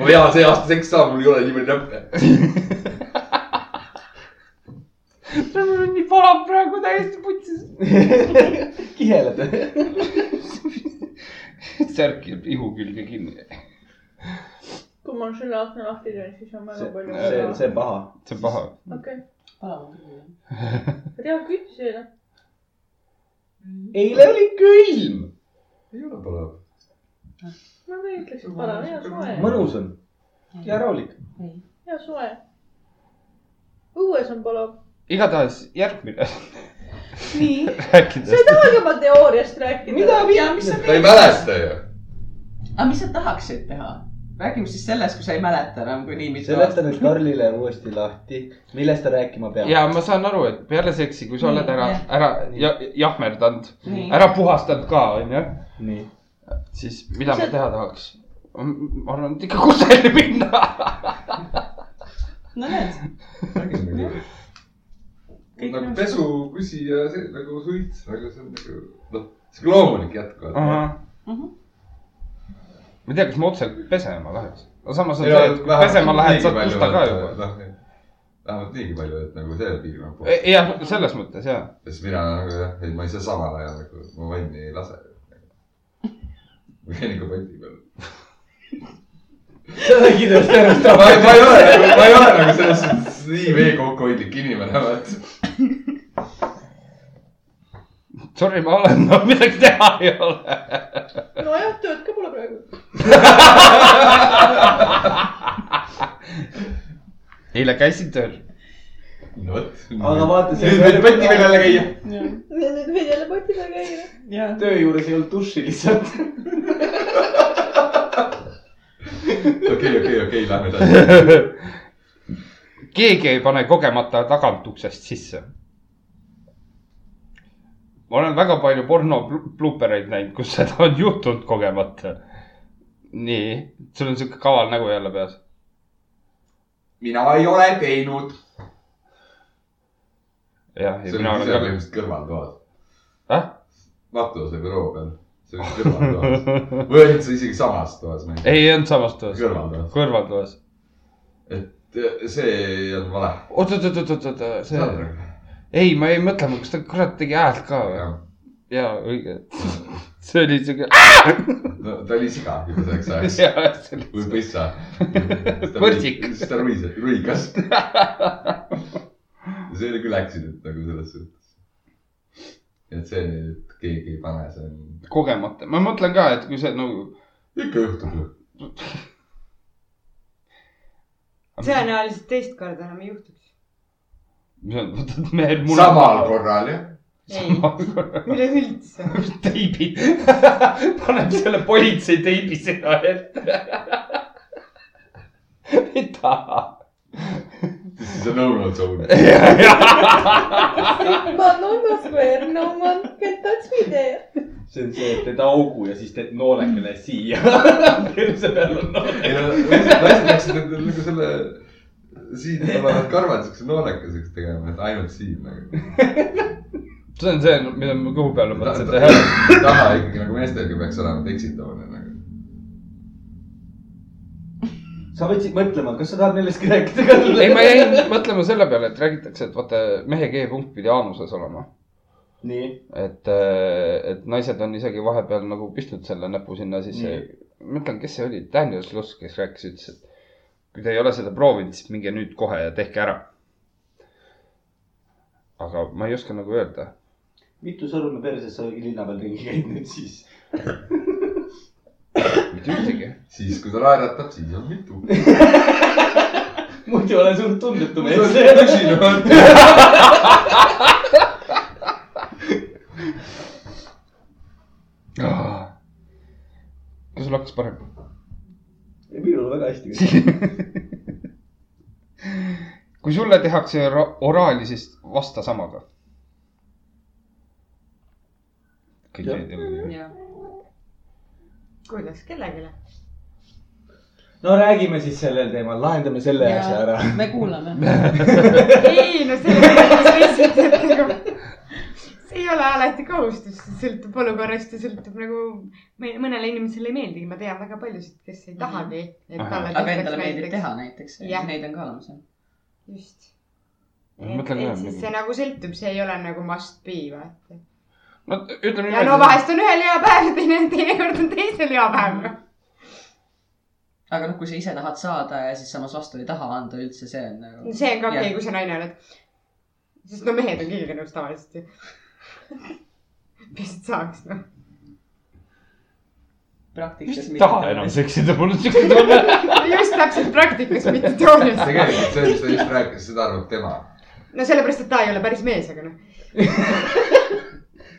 ma hea see aasta seks saan , mul ei ole nii palju näppe . mul on nii palav praegu täiesti putsis . kiheled . särk jääb ihu külge kinni . kui ma selle akna lahti teen , siis on väga palju . see , see on paha . see on paha . okei , ju ? tea küll see . eile oli külm . ei ole palav . ma ka ütleks , et palav , hea soe , mõnus on ja rahulik . hea soe . õues on palav . igatahes järgmine . nii , sa rääkides ei tahagi oma teooriast rääkida . mida ja mis sa ta ei teed , mäleta ju . aga mis sa tahaksid teha ? räägime siis sellest , kui sa ei mäleta enam , kui nii mitu seleta nüüd Karlile uuesti lahti , millest ta rääkima peab . ja ma saan aru , et peale seksi , kui sa oled ära Nii, , ära ja, jahmerdanud , Nii. ära puhastanud ka , onju , nii . siis mida ma teha tahaks ? ma arvan , et ikka kusagile minna . no näed , kõik nagu on pesu , kusi ja see nagu suits , aga see on nagu noh , see on loomulik jätkuvalt . Mhm. ma ei tea , kas ma otseselt pesema läheks . aga samas on Ei ole, see , noh, et et vähemalt pesema lähed , niigi saad palju, pusta ka et, juba . noh, vähemalt niigi palju , et nagu see piirkond puhas . E-, jah , selles mõttes ja . siis mina nagu jah , ei ma ei saa samal ajal nagu , ma vanni ei lase . ma käin ikka poti peal . sa räägid just ennast ma ära . ei , ma ei ole nagu , ma ei ole nagu selles suhtes nii vee kokkuhoidlik inimene , vaata . Sorry , ma olen , no midagi teha ei ole . nojah , tööd ka pole praegu . eile käisin tööl . no vot . aga vaata , nüüd võib poti peal jälle käia . Need võid jälle poti peal käia . töö juures ei olnud duši lihtsalt . okei , okei , okei , lähme edasi . keegi ei pane kogemata tagant uksest sisse . ma olen väga palju porno blu- bluupereid näinud , kus seda on juhtunud kogemata . nii , sul on sihuke kaval nägu jälle peas . mina ei ole teinud . jah , ja see mina on olen ka . põhimõtteliselt kõrvaltoas . ah , matuse büroo peal . see on kõrvaltoas . või olid sa isegi samas toas ? ei , ei olnud samas toas , kõrvaltoas . kõrvaltoas . see ei olnud vale . oot , oot , oot , oot , oot , oot , see , ei , ma jäin mõtlema , kas ta kurat tegi häält ka või ? jaa , õige . see oli siuke , no ta oli siga juba selleks ajaks jaa , see oli , või põssa . Võrdsik. siis ta ruis , ruigas . see oli küll accident nagu selles suhtes . et see , et keegi ei pane , see on . kogemata , ma mõtlen ka , et kui see nagu . ikka juhtub ju . tõenäoliselt teist korda enam ei juhtuks . võtad mehel samal . korral jah . ei , üleüldse . teibi , paneb selle politsei teibi sinna ette . ei taha . siis on no-no zone . Sigma , no no square , no man can touch me there . see on see , et teed augu ja siis teed noolekene Mm. siia . perse peal on nool . ei no , naised läksid nagu- nagu selle , siin tulevad karvad siukse noolekeseks tegema , et ainult siin nagu . see on see , mida ma kõhu peale mõtlesin teha . taha ikkagi nagu meestelgi peaks olema teksitavane nagu . sa võtsid mõtlema , kas sa tahad millestki rääkida ka ? ei , ma jäin mõtlema selle peale , et räägitakse , et vaata , mehe G-punkt pidiAanuses olema . nii , et , et naised on isegi vahepeal nagu pistnud selle näpu sinna sisse mm. . ma ütlen , kes see oli , Daniel Sluss , kes rääkis , ütles , et kui te ei ole seda proovinud , siis minge nüüd kohe ja tehke ära . aga ma ei oska nagu öelda . mitu sõrme perses sa linna peal ringi käid nüüd siis ? mitte ühtegi . siis , kui ta naeratab , siis on mitu . muidu olen suht tundetu mees . tõsinemalt . kas sul hakkas parem ? minul on väga hästi . kui sulle tehakse ora- oraali , siis vasta samaga . kõik Jah. jäid jälle . kuidas kellelegi ? no räägime siis sellel teemal , lahendame selle Jaa. asja ära . me kuulame . ei , no see , see ei ole alati kohustus , see sõltub olukorrast ja sõltub nagu , mõnele inimesele ei meeldigi , ma tean väga paljusid , kes ei tahagi , et talle aga endale meeldib teha . näiteks , Jah. neid on ka olemas . just . Ma et mõtlen ka, et siis et- see nagu sõltub , see ei ole nagu must be , vaata . no ütleme ja no . vahest on ühel hea päev , teine , teinekord on teisel hea päev . aga noh , kui sa ise tahad saada ja siis samas vastu ei taha anda üldse , see on nagu . see on ka okei Jah. , kui sa naine oled . sest no mehed on kõigega nõus tavaliselt ju mis saaks noh . vist praktikas ei taha enam . seksida , mul on siuke tunne . just täpselt praktikas , mitte teoorias . tegelikult see , mis ta just rääkis , seda arvab tema . no sellepärast , et ta ei ole päris mees , aga noh .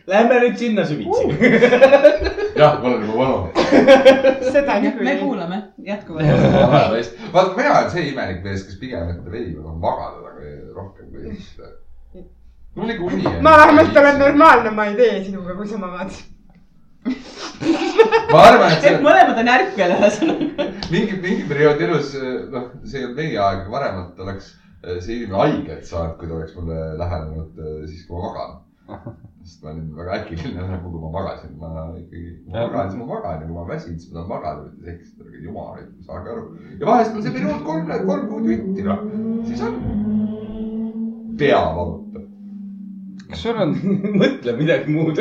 Lähme nüüd sinna Uh. süvitsi . jah , ma olen juba vana . seda me niikuinii . kuulame jätkuvalt . vaata , mina olen see imelik mees , kes pigem ette veidi tahab magada nagu rohkem kui siis . mul nagu uni . ma vähemalt olen . normaalne , ma ei tee sinuga , kui sa magad . ma arvan , et see et mõlemad on ärkvel ühesõnaga . mingi , mingi periood elus , noh , see on meie aeg , varemalt oleks eh, see inimene haiget saanud , kui ta oleks mulle lähenenud eh, siis , kui ma magan . sest ma olin väga äkiline nagu , kui ma magasin , ma ikkagi , kui ma Jah. magan , siis ma magan ja kui ma olen väsinud , siis ma tahan magada , mitte seksida , aga jumal , saage aru . ja vahest on see periood kolm , kolm kuud jutti , noh , siis on pea valuta . kas sul on , mõtle midagi muud .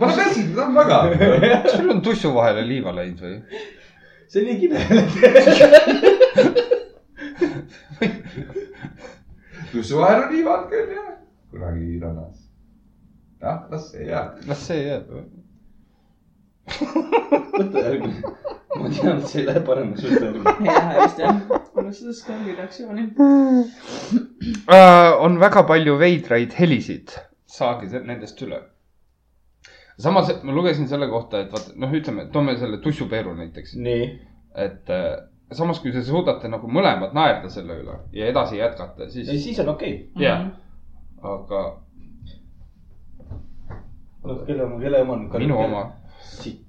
ma olen väsinud , ma tahan magada . kas sul on tussu vahele liiva läinud või ? see on nii kibe . tussu vahel on liivad küll , jah , kunagi rannas . jah , las see jääb . las see jääb . mõtle järgmine . ma tean , et see ei lähe paremaks üldse . jah , just jah . unustades ka reaktsiooni . Äh, on väga palju veidraid helisid . saage se- nendest üle . samas ma lugesin selle kohta , et vaata , noh , ütleme , toome selle tussupeeru näiteks . nii . et äh, samas , kui te suudate nagu mõlemad naerda selle üle ja edasi jätkata , ei , siis siis on okei jah , Mhm. aga okay. . kelle oma , kelle oma nüüd ? minu oma . siit .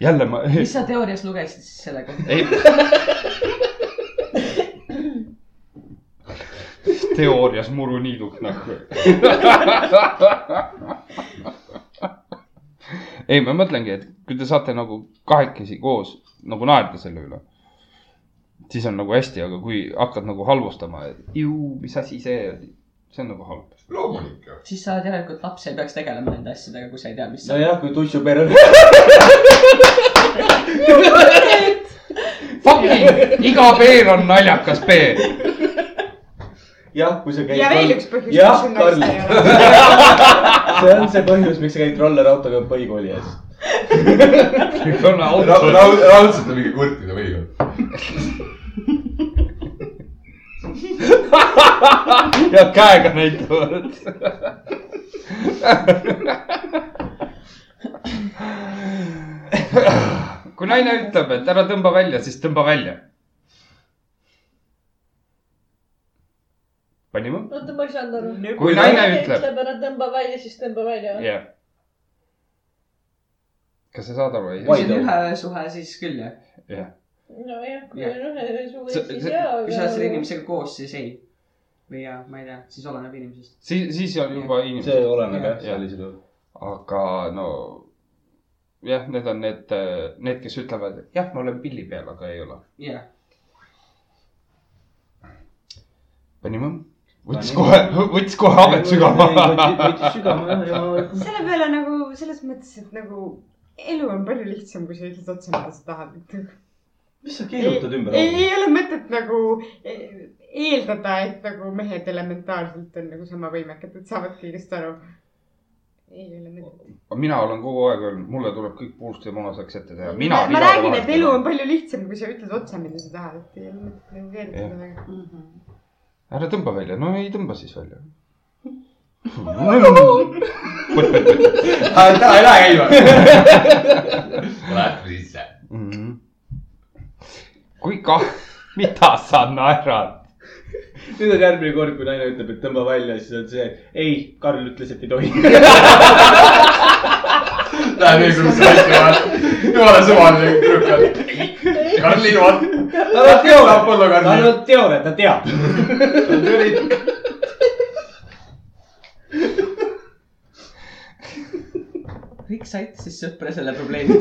jälle ma , mis sa teoorias lugesid siis selle kohta ? ei . teoorias muruniiduk nagu . ei , ma mõtlengi , et kui te saate nagu kahekesi koos nagu naerda selle üle , siis on nagu hästi , aga kui hakkad nagu halvustama , et ju , mis asi see oli , see on nagu halb . loomulik ju . siis sa oled järelikult laps , ei peaks tegelema nende asjadega , kui sa ei tea , mis see on . nojah , kui tussu pere . Fucking , iga peer on naljakas peer . jah , kui sa käid . ja veel üks põhjus , jah miks sul , naist ei Karl , ole . see on see põhjus , miks sa käid rollerautoga põhikooli ees . raudselt on mingi kurtide või ? ja käega näitavad . kui naine ütleb , et ära tõmba välja , siis tõmba välja . panime . oota , ma ei saanud aru . kui naine ütleb , ütleb ära , tõmba välja , siis tõmba välja . jah . kas sa saad aru ? kui see on ühe öö suhe , siis küll jah . nojah , kui Jah. on ühe suve , See- siis see- jaa . nagu kui sa oled selle . inimesega koos , siis ei . või jaa , ma ei tea , siis oleneb inimesest . siis , siis on juba see inimesed , oleneb jah , Jah. sellisel juhul . aga no jah , need on need , need , kes ütlevad , et jah , ma olen pilli peal , aga ei ole . jah . panime . võttis kohe Panime. , võttis kohe habet sügava . võttis sügava ja selle peale nagu selles mõttes , et nagu elu on palju lihtsam , kui sa ütled otse , mida sa tahad . mis sa keerutad ümber ? ei , ei ole mõtet nagu eh, eeldada , et nagu mehed elementaarselt on nagu sama võimekad , et saavad kõigest aru . ei ole mõtet . mina olen kogu aeg öelnud , mulle tuleb kõik puust ja punaseks ette teha . ma mina . ma räägin , et elu on palju lihtsam , kui sa ütled otse , mida sa tahad , et ei ole mõtet nagu keerutada väga . ära tõmba välja , no ei tõmba siis välja . ära , ära käima . Läheb sisse . Mm-hmm. kui kah , mida sa naerad ? nüüd on järgmine kord , kui naine ütleb , et tõmba välja , siis on see , ei , Karl ütles , et ei tohi . Läheb nii kurb sisse . jumala suvaline trükk . Karl Ilvan . tal on Apollo teooria , Karl. tal on teooria , ta teab . kõik said siis sõpra selle probleemi .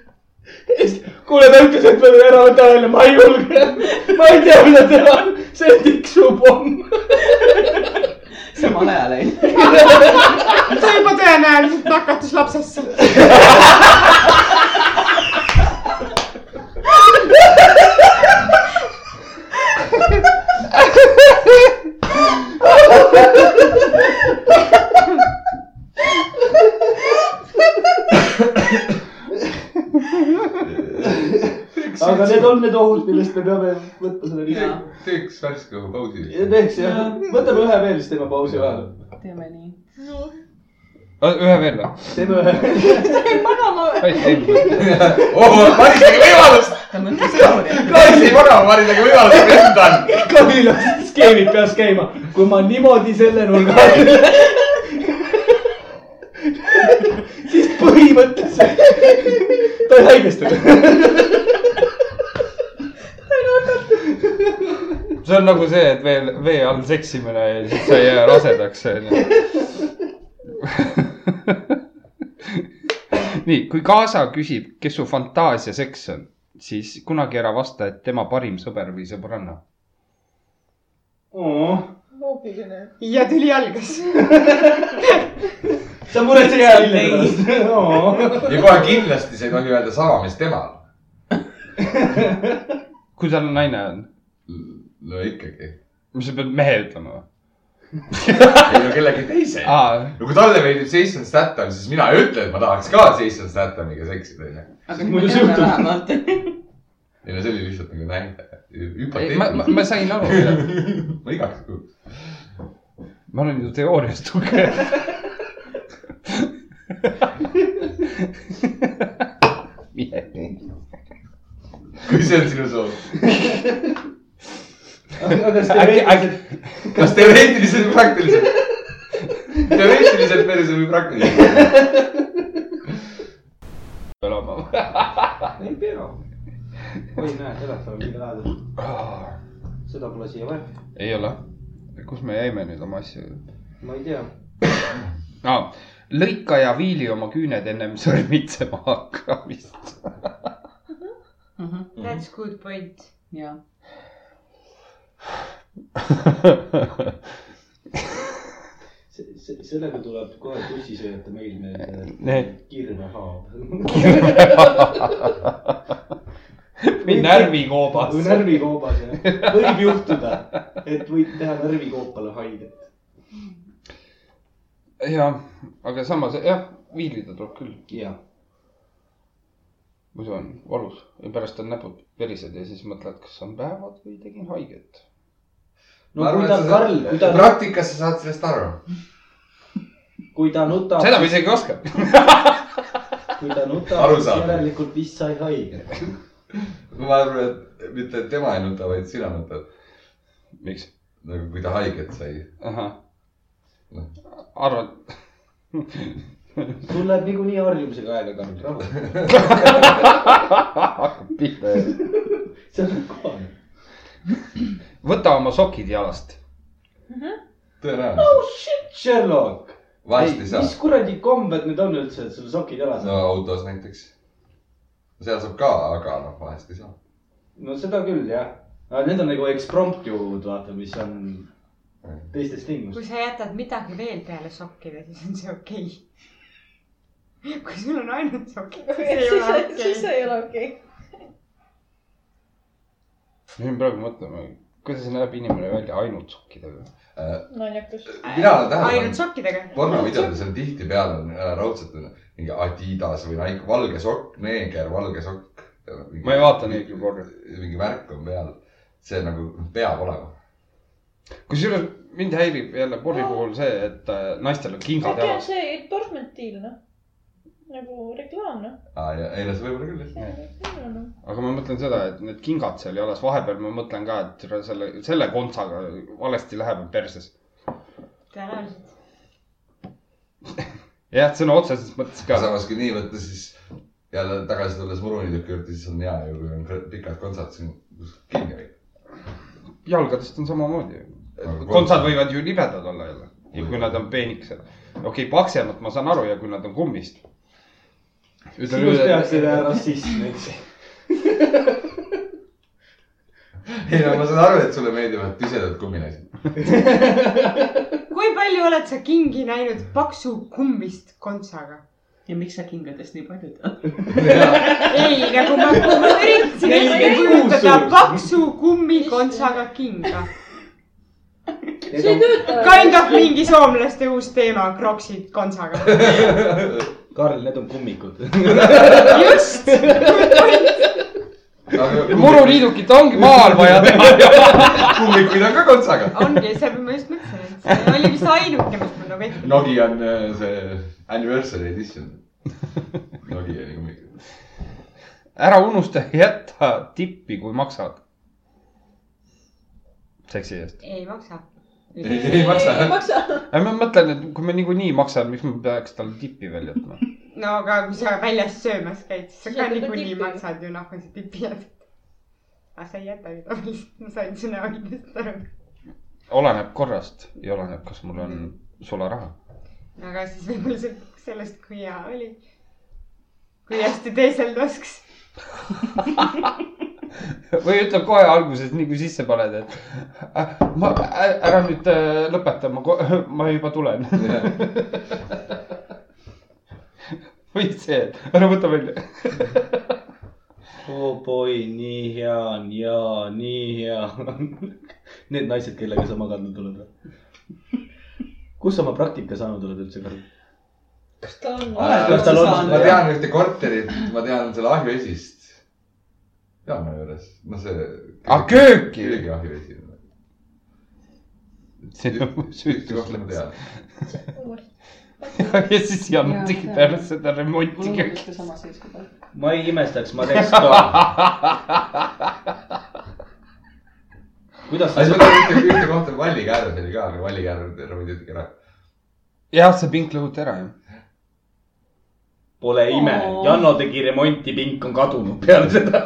kuule , ta ütles , et peab ära võtta välja , ma ei julge . ma ei tea , mida teha . see tiksub homme . samal ajal ei . ta juba tõenäoliselt nakatus lapsesse . aga need on need ohud , millest me peame võtma selle riski . teeks värske õhupausi . teeks jah , võtame ühe veel , siis teeme pausi vahele . teeme nii . ühe veel või ? teeme ühe veel . oh , Maris tegi võimalust . ta mõtles teooriat . Maris ei magama , Maris tegi võimalust , kes ta on . Karil on skeemid peas käima , kui ma niimoodi selle nurga alt . siis põhimõtteliselt ta ei haigestu . see on nagu see , et veel vee all seksimine ja siis sa ei jää rasedaks , onju . nii , kui kaasa küsib , kes su fantaasia seks on , siis kunagi ära vasta , et tema parim sõber või sõbranna . loogiline . ja tüli algas . sa muretsed selle pärast . ja kohe kindlasti sa ei tohi öelda sama , mis temal . kui tal naine on , no ikkagi . mis sa pead mehe ütlema või ? ei no kellegi teise . aa , no kui talle meeldib Jason Statham , siis mina ei ütle , et ma tahaks ka Jason Stathamiga seksida , onju . aga nüüd me Muidu see teame juhtub. vähemalt . ei no see oli lihtsalt nagu näide . ma , ma , ma hüpoteetiline . sain aru , jah . ma igaks juhuks . ma olen ju teoorias tugev . mine tee . kui see on sinu soov . äkki , äkki , kas teoreetiliselt või praktiliselt ? teoreetiliselt perse või praktiliselt ? elama või ? ei pea . oi , näe , telefon on liiga lähedal . seda pole siia vaja . ei ole . kus me jäime nüüd oma asju ma ei tea . ah, ? lõika ja viili oma küüned ennem sõrmitsema hakkamist . That's good point . Mhm. jaa . sellega tuleb kohe bussisõita meil Nee. need kirvehaab . või närvikoobas või . närvikoobas jah . võib juhtuda , et võid teha närvikoopale haiget . jah , aga samas jah , viilida tuleb küll , jah . muidu on valus ja pärast on näpud verised ja siis mõtled , kas on päevad või tegin haiget . no kui ta on Karl , kui ta , praktikas sa saad sellest aru . kui ta nutab , seda ma isegi oskan . kui ta nutab , Aru siis saab. järelikult vist sai haiget . ma arvan , et mitte tema ei nuta , vaid sina nutad . miks ? nagu kui ta haiget sai . ahah . Noh. arvad , sul läheb niikuinii harjumisega aega , Karl , rahu . hakkab pihta jälle . see on kohane . võta oma sokid jalast . tõenäoliselt , Oh Sherlock , vahest ei saa mis . kuradi kombed need on üldse , et sul sokid jalas no on ? autos näiteks . seal saab ka , aga noh , vahest ei saa . no seda küll , jah . aga need on nagu ekspromptjud , vaata , mis on teistes kui tingimustes . sa jätad midagi veel peale sokkide , siis on see okei okay. . kui sul on ainult sokid , siis ei siis ole ei- siis okei . ei ole okei . ma jäin praegu mõtlema , kuidas näeb inimene välja ainult sokkidega . naljakas . mina olen tähele ainult pannud , sokkidega . pornovideodes on tihtipeale on äh, raudselt on mingi Adidas või Nike , valge sokk , neeger , valge sokk . ma ei vaata neid ju . korra . mingi märk on peal , see nagu peab olema . kusjuures mind häirib jälle porri puhul see , et äh, naistel on kingad äkki on jalas . see endorsementiil , noh . nagu reklaam , noh . noh. ei no see võib olla küll jah . aga ma mõtlen seda , et need kingad seal jalas , vahepeal ma mõtlen ka , et türa selle , selle kontsaga valesti läheb perses . tõenäoliselt . jah , sõna otseses mõttes ka . aga samas , kui nii võtta , siis jälle tagasi tulles murunidõkke juurde , siis on hea ju , kui on kõ- pikad kontsad siin kus kinni kõik . jalgadest on samamoodi . Aga kontsad kontsad- võivad ju libedad olla jälle ja kui nad on peenikesed . okei okay, , paksemad ma saan aru ja kui nad on kummist . sinust tehakse ühe rassismi , eks . ei no ma saan aru , et sulle meeldivad pisedad kumminaised . kui palju oled sa kingi näinud paksu kummist kontsaga ? ja miks sa kingadest nii palju tead ? ei , nagu ma, ma üritasin ette Nelikümmend kuus kujutada suurus. paksu kummikontsaga kinga . see ei tööta . Kind of mingi soomlaste uus teema , kroksid kontsaga . Karl , need on kummikud . just , muruliidukit ongi maal vaja teha . kummikuid on ka kontsaga . ongi , see ma just mõtlesin , et see oli vist ainuke , mis mul nagu ette . Nokia on äh, see anniversary edition . Nokia kummikud . ära unusta jätta tippi , kui maksad . seksi eest . ei maksa . ei ei maksa . ei maksa . ma mõtlen , et kui me niikuinii maksame , miks ma peaks talle tippi veel jätma ? no aga kui sa väljas söömas käid , siis Siis sa ka jätad ta niikuinii tipi. maksad ju noh , kui sa tipi jätad . aga sa ei jäta ju tavaliselt , ma sain su näolidest aru . oleneb korrast ja oleneb , kas mul on sularaha . aga siis võib-olla sõltub ka sellest , kui hea oli . kui hästi teeselda oskas . või ütleb kohe alguses , nii kui sisse paned , et äh, ma , ära nüüd äh, lõpeta , ma , ma juba tulen . või see , et ära võta välja . oo boi , Oh nii hea on ja nii hea on . Need naised , kellega sa maganud oled või ? kus sa oma praktika saanud oled üldse , Karl ? kas ta on kas tal on- ma tean ühte korterit , ma tean selle ahjuesist . jaama juures , no see . Ah, kööki? köögi ahjuesi . see on mu ühte kohta ma süüdistus . tean . ja siis Jan Jaa, tegi see on- peale seda remonti kõik . kulutuste sama seisukohal . ma ei imestaks , ma teeks ka . kuidas sa aga siis , ma tean ühte , ühte kohta Vallikäärmes oli ka , aga Vallikäärmes remonteeriti ära . jah , see pink lõhuti ära ju . pole ime , Janno tegi remonti , pink on kadunud peale seda .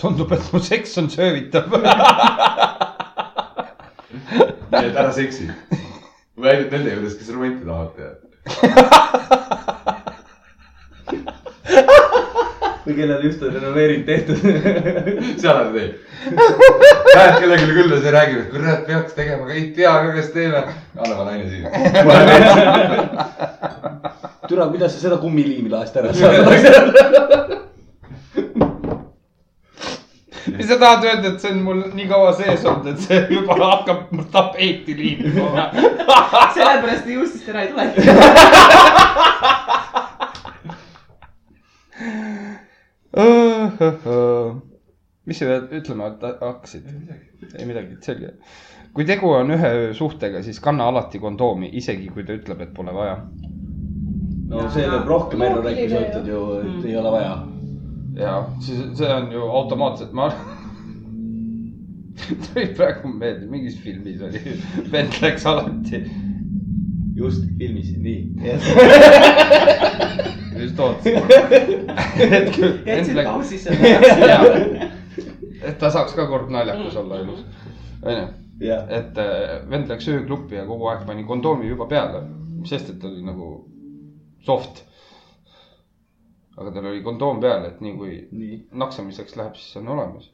tundub , et mu seks on söövitav . nii et ära seksi . või ainult nende juures , kes remonti tahavad teha . või kellel just on renoveering tehtud . seal on teil . Lähed kellelegi külla , siis räägib , et kurat , peaks tegema , aga ei tea ka , kas teeme . anname naine siia . türa , kuidas sa seda kummiliimi laest ära saad ? mis sa tahad öelda , et see on mul nii kaua sees olnud , et see juba hakkab mul tapeeti liikuma ? sellepärast nii juustest ära ei tulegi . mis sa veel ütlema ta- hakkasid ? ei midagi , selge . kui tegu on ühe öö suhtega , siis kanna alati kondoomi , isegi kui ta ütleb , et pole vaja . no see teeb rohkem ellu rääkida , sa ütled ju , et ei ole vaja . ja siis see on ju automaatselt , ma , tuli praegu meelde , mingis filmis oli , vend läks alati , just filmis , nii . just ootasin . jätsid pausi selle . et ta saaks ka kord naljakas olla elus , onju . jah , et äh, vend läks ööklubbi ja kogu aeg pani kondoomi juba peale , sest et ta oli nagu soft . aga tal oli kondoom peal , et nii kui nii , naksamiseks läheb , siis on olemas .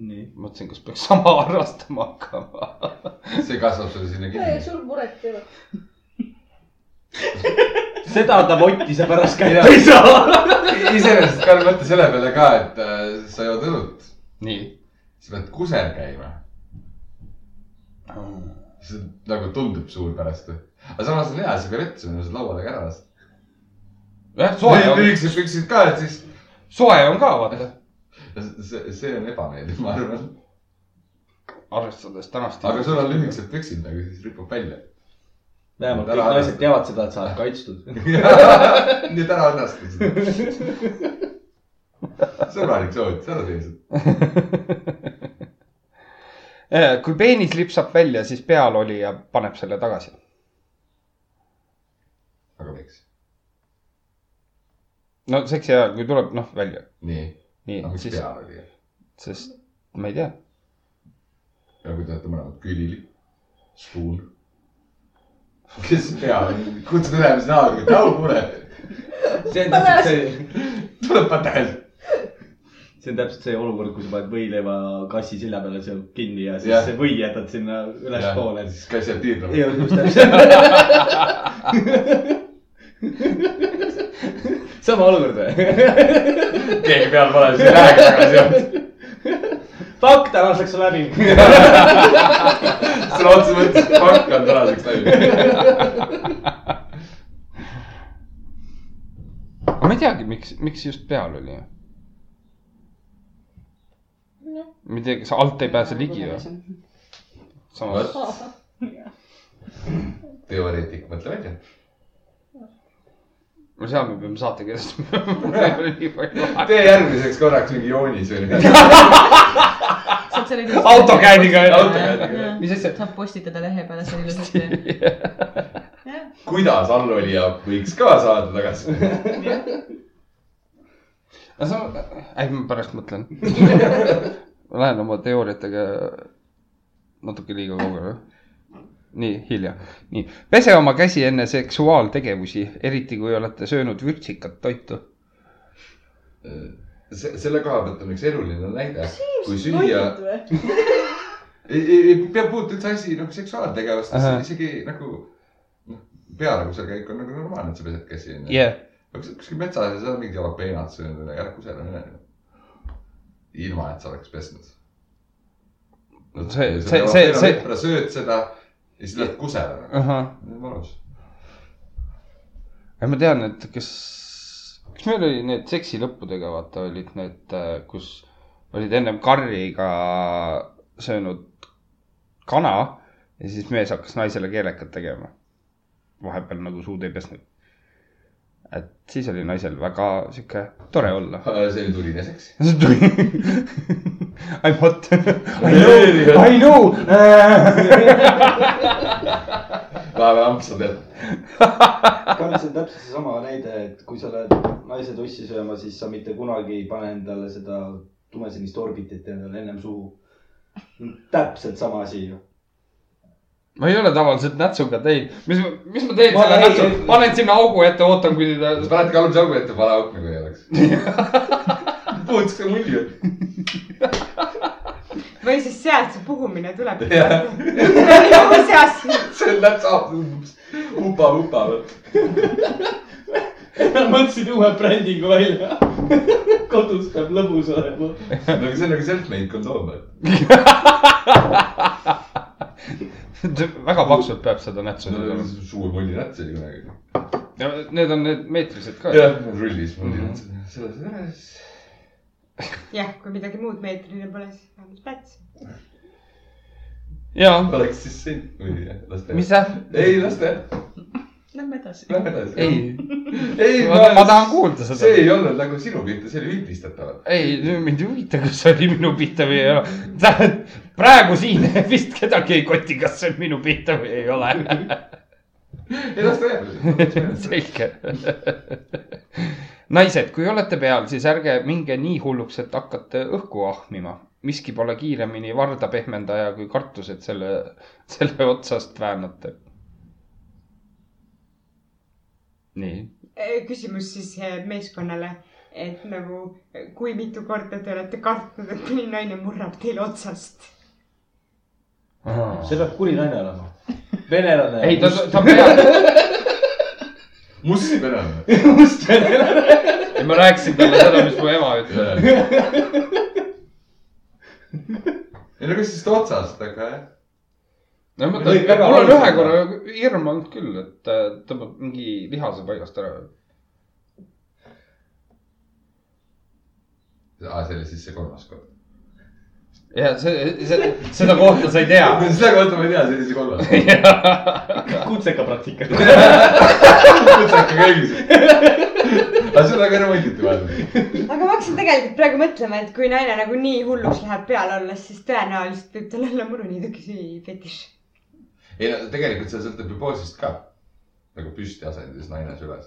nii . mõtlesin , kas peaks sama harrastama hakkama . see kasvab sulle sinna ei , kinni . sul muret ei ole . seda ta votti sa pärast Jah. kätte ei saa . iseenesest ka mõtle selle peale ka , et äh, sa jood õlut , nii . sa pead kusel käima . see nagu tundub suur pärast . aga samas on hea , sigaret sa võid seal laua taga ära lasta . jah , soe on , lühikesed püksid ka , et siis soe on ka , vaata . see , see on ebameeldiv , ma arvan . arvestades tänast . aga sul on lühikesed püksid , aga siis ripub välja . vähemalt Ära kõik naised arvesta. teavad seda , et sa oled kaitstud . nii et ära õnnestu seda . sõbralik soovitus , ära tee seda . Eh, kui peenis lipsab välja , siis pealolija paneb selle tagasi . aga miks ? no seksi ajal , kui tuleb , noh , välja . nii , nii aga , miks siis , peal oli ? sest ma ei tea , ja kui te olete mõlemad külili , spuun . kes peab , kutsud ülemise näoga , et au kuule , see on täpselt see , tuleb patel . see on täpselt see olukord , kui sa paned võileiva kassi selja peale seal kinni ja siis Jah. see või jätad sinna ülespoole . siis käis seal tiirlema . jah , just täpselt . sama olukord või ? keegi peal pole , siis ei lähegi tagasi sealt . Fuck , tänaseks on läbi . sõna otseses mõttes pank on tänaseks läinud . ma ei teagi , miks , miks just pealolija . ma ei tea , kas alt ei pääse ligi või ?. samas , vot , teoreetik , mõtle välja . no seal me peame saate kestes . tee järgmiseks korraks mingi joonis või midagi . saad selle ilusti . autokääniga . Autokääniga. mis asja ? saab postitada lehe peale selle ilusasti . kuidas allolija võiks ka saada tagasi ? no sa , ei ma pärast mõtlen . ma lähen oma teooriatega natuke liiga kaugele . nii hilja , nii pese oma käsi enne seksuaaltegevusi , eriti kui olete söönud vürtsikat toitu . se- , selle koha pealt on üks eluline näide , kui süüa , toidud või ? ei , ei , ei pea puutu üldse asi nagu seksuaaltegevustesse Ahah. , isegi nagu noh , pealagusekäik on nagu normaalne , et sa pesed käsi onju jah , aga kui sa oled kuskil metsas ja sa oled mingi jalapeenat söönud , ära kusele mine . ilma , et sa oleks pesnud no, . See- see- see- see- sööd seda ja siis lähed kusele . ahah , mõnus . ma tean , et kas , kas meil oli need seksi lõppudega , vaata olid need , kus olid ennem karriga söönud kana ja siis mees hakkas naisele keelekat tegema . vahepeal nagu suud ei pesnud . et siis oli naisel väga sihuke tore olla . see oli tuline seks . I m hot , Ei, I know . äh. laeva ampsa tead . Karl , see on täpselt seesama näide , et kui sa oled naise tussi sööma , siis sa mitte kunagi ei pane endale seda tumesinist orbitit endale ennem suhu . täpselt sama asi ju . ma ei ole tavaliselt nätsuga teinud , mis , mis ma teen Ma selle ei- nätsu , panen sinna augu ette , ootan , kuni ta sa paned kalumise augu ette , vale auk nagu ei oleks . puhutas ka mulje . või siis sealt see puhumine tuleb . Jah. nagu seast . see on täpselt saab , upa , upa . mõtlesin uue brändingu välja . kodus peab lõbus olema . aga see on nagu self-made kondoom . väga paksult peab seda nätsu tegema . suur mulli näts oli kunagi Need on need meetrised ka . jah , rullis mul mm -hmm. selles ühes . jah , kui midagi muud meetrine pole , siis vähemalt plats . ja , oleks siis sind või las ta mis . see , ei , las ta jääb , Lähme edasi . lähme edasi . ei , ei , ma, ma tahan kuulda seda see . ei olnud nagu sinu pihta , see oli vilpistatav . ei , mind ei huvita , kas see oli minu pihta või ei ole . praegu siin vist kedagi ei koti , kas see on minu pihta või ei ole . ei las ta jääb . selge . naised , kui olete peal , siis ärge minge nii hulluks , et hakkate õhku ahmima . miski pole kiiremini varda pehmendaja , kui kartused selle , selle otsast väänate . nii , Äh, küsimus siis eh, meeskonnale , et nagu eh, kui mitu korda te olete kartnud , et mõni naine murrab teile otsast ? see peab kuri naine olema . venelane . ei ta , ta peab , must venelane . must venelane . ma rääkisin talle seda , mis mu ema ütles . ei no kas siis otsast , aga jah . no ma Lõid väga mõtlen , mul on valusalt ühe ära. korra hirm olnud küll , et äh, tõmbab mingi lihase paigast ära . aa , Ah, see oli siis see kolmas kord . ja see , see , seda kohta sa ei tea . seda kohta ma ei tea , see oli see kolmas kord . kutseka praktika . kutsaka käis . aga seda ka remonditi vahepeal . aga ma hakkasin tegelikult praegu mõtlema , et kui naine nagu nii hulluks läheb peale olles , siis tõenäoliselt võib tal olla muruniidukesi fetiš . ei no tegelikult see sõltub ju poosist ka . nagu püsti asendis naine süles .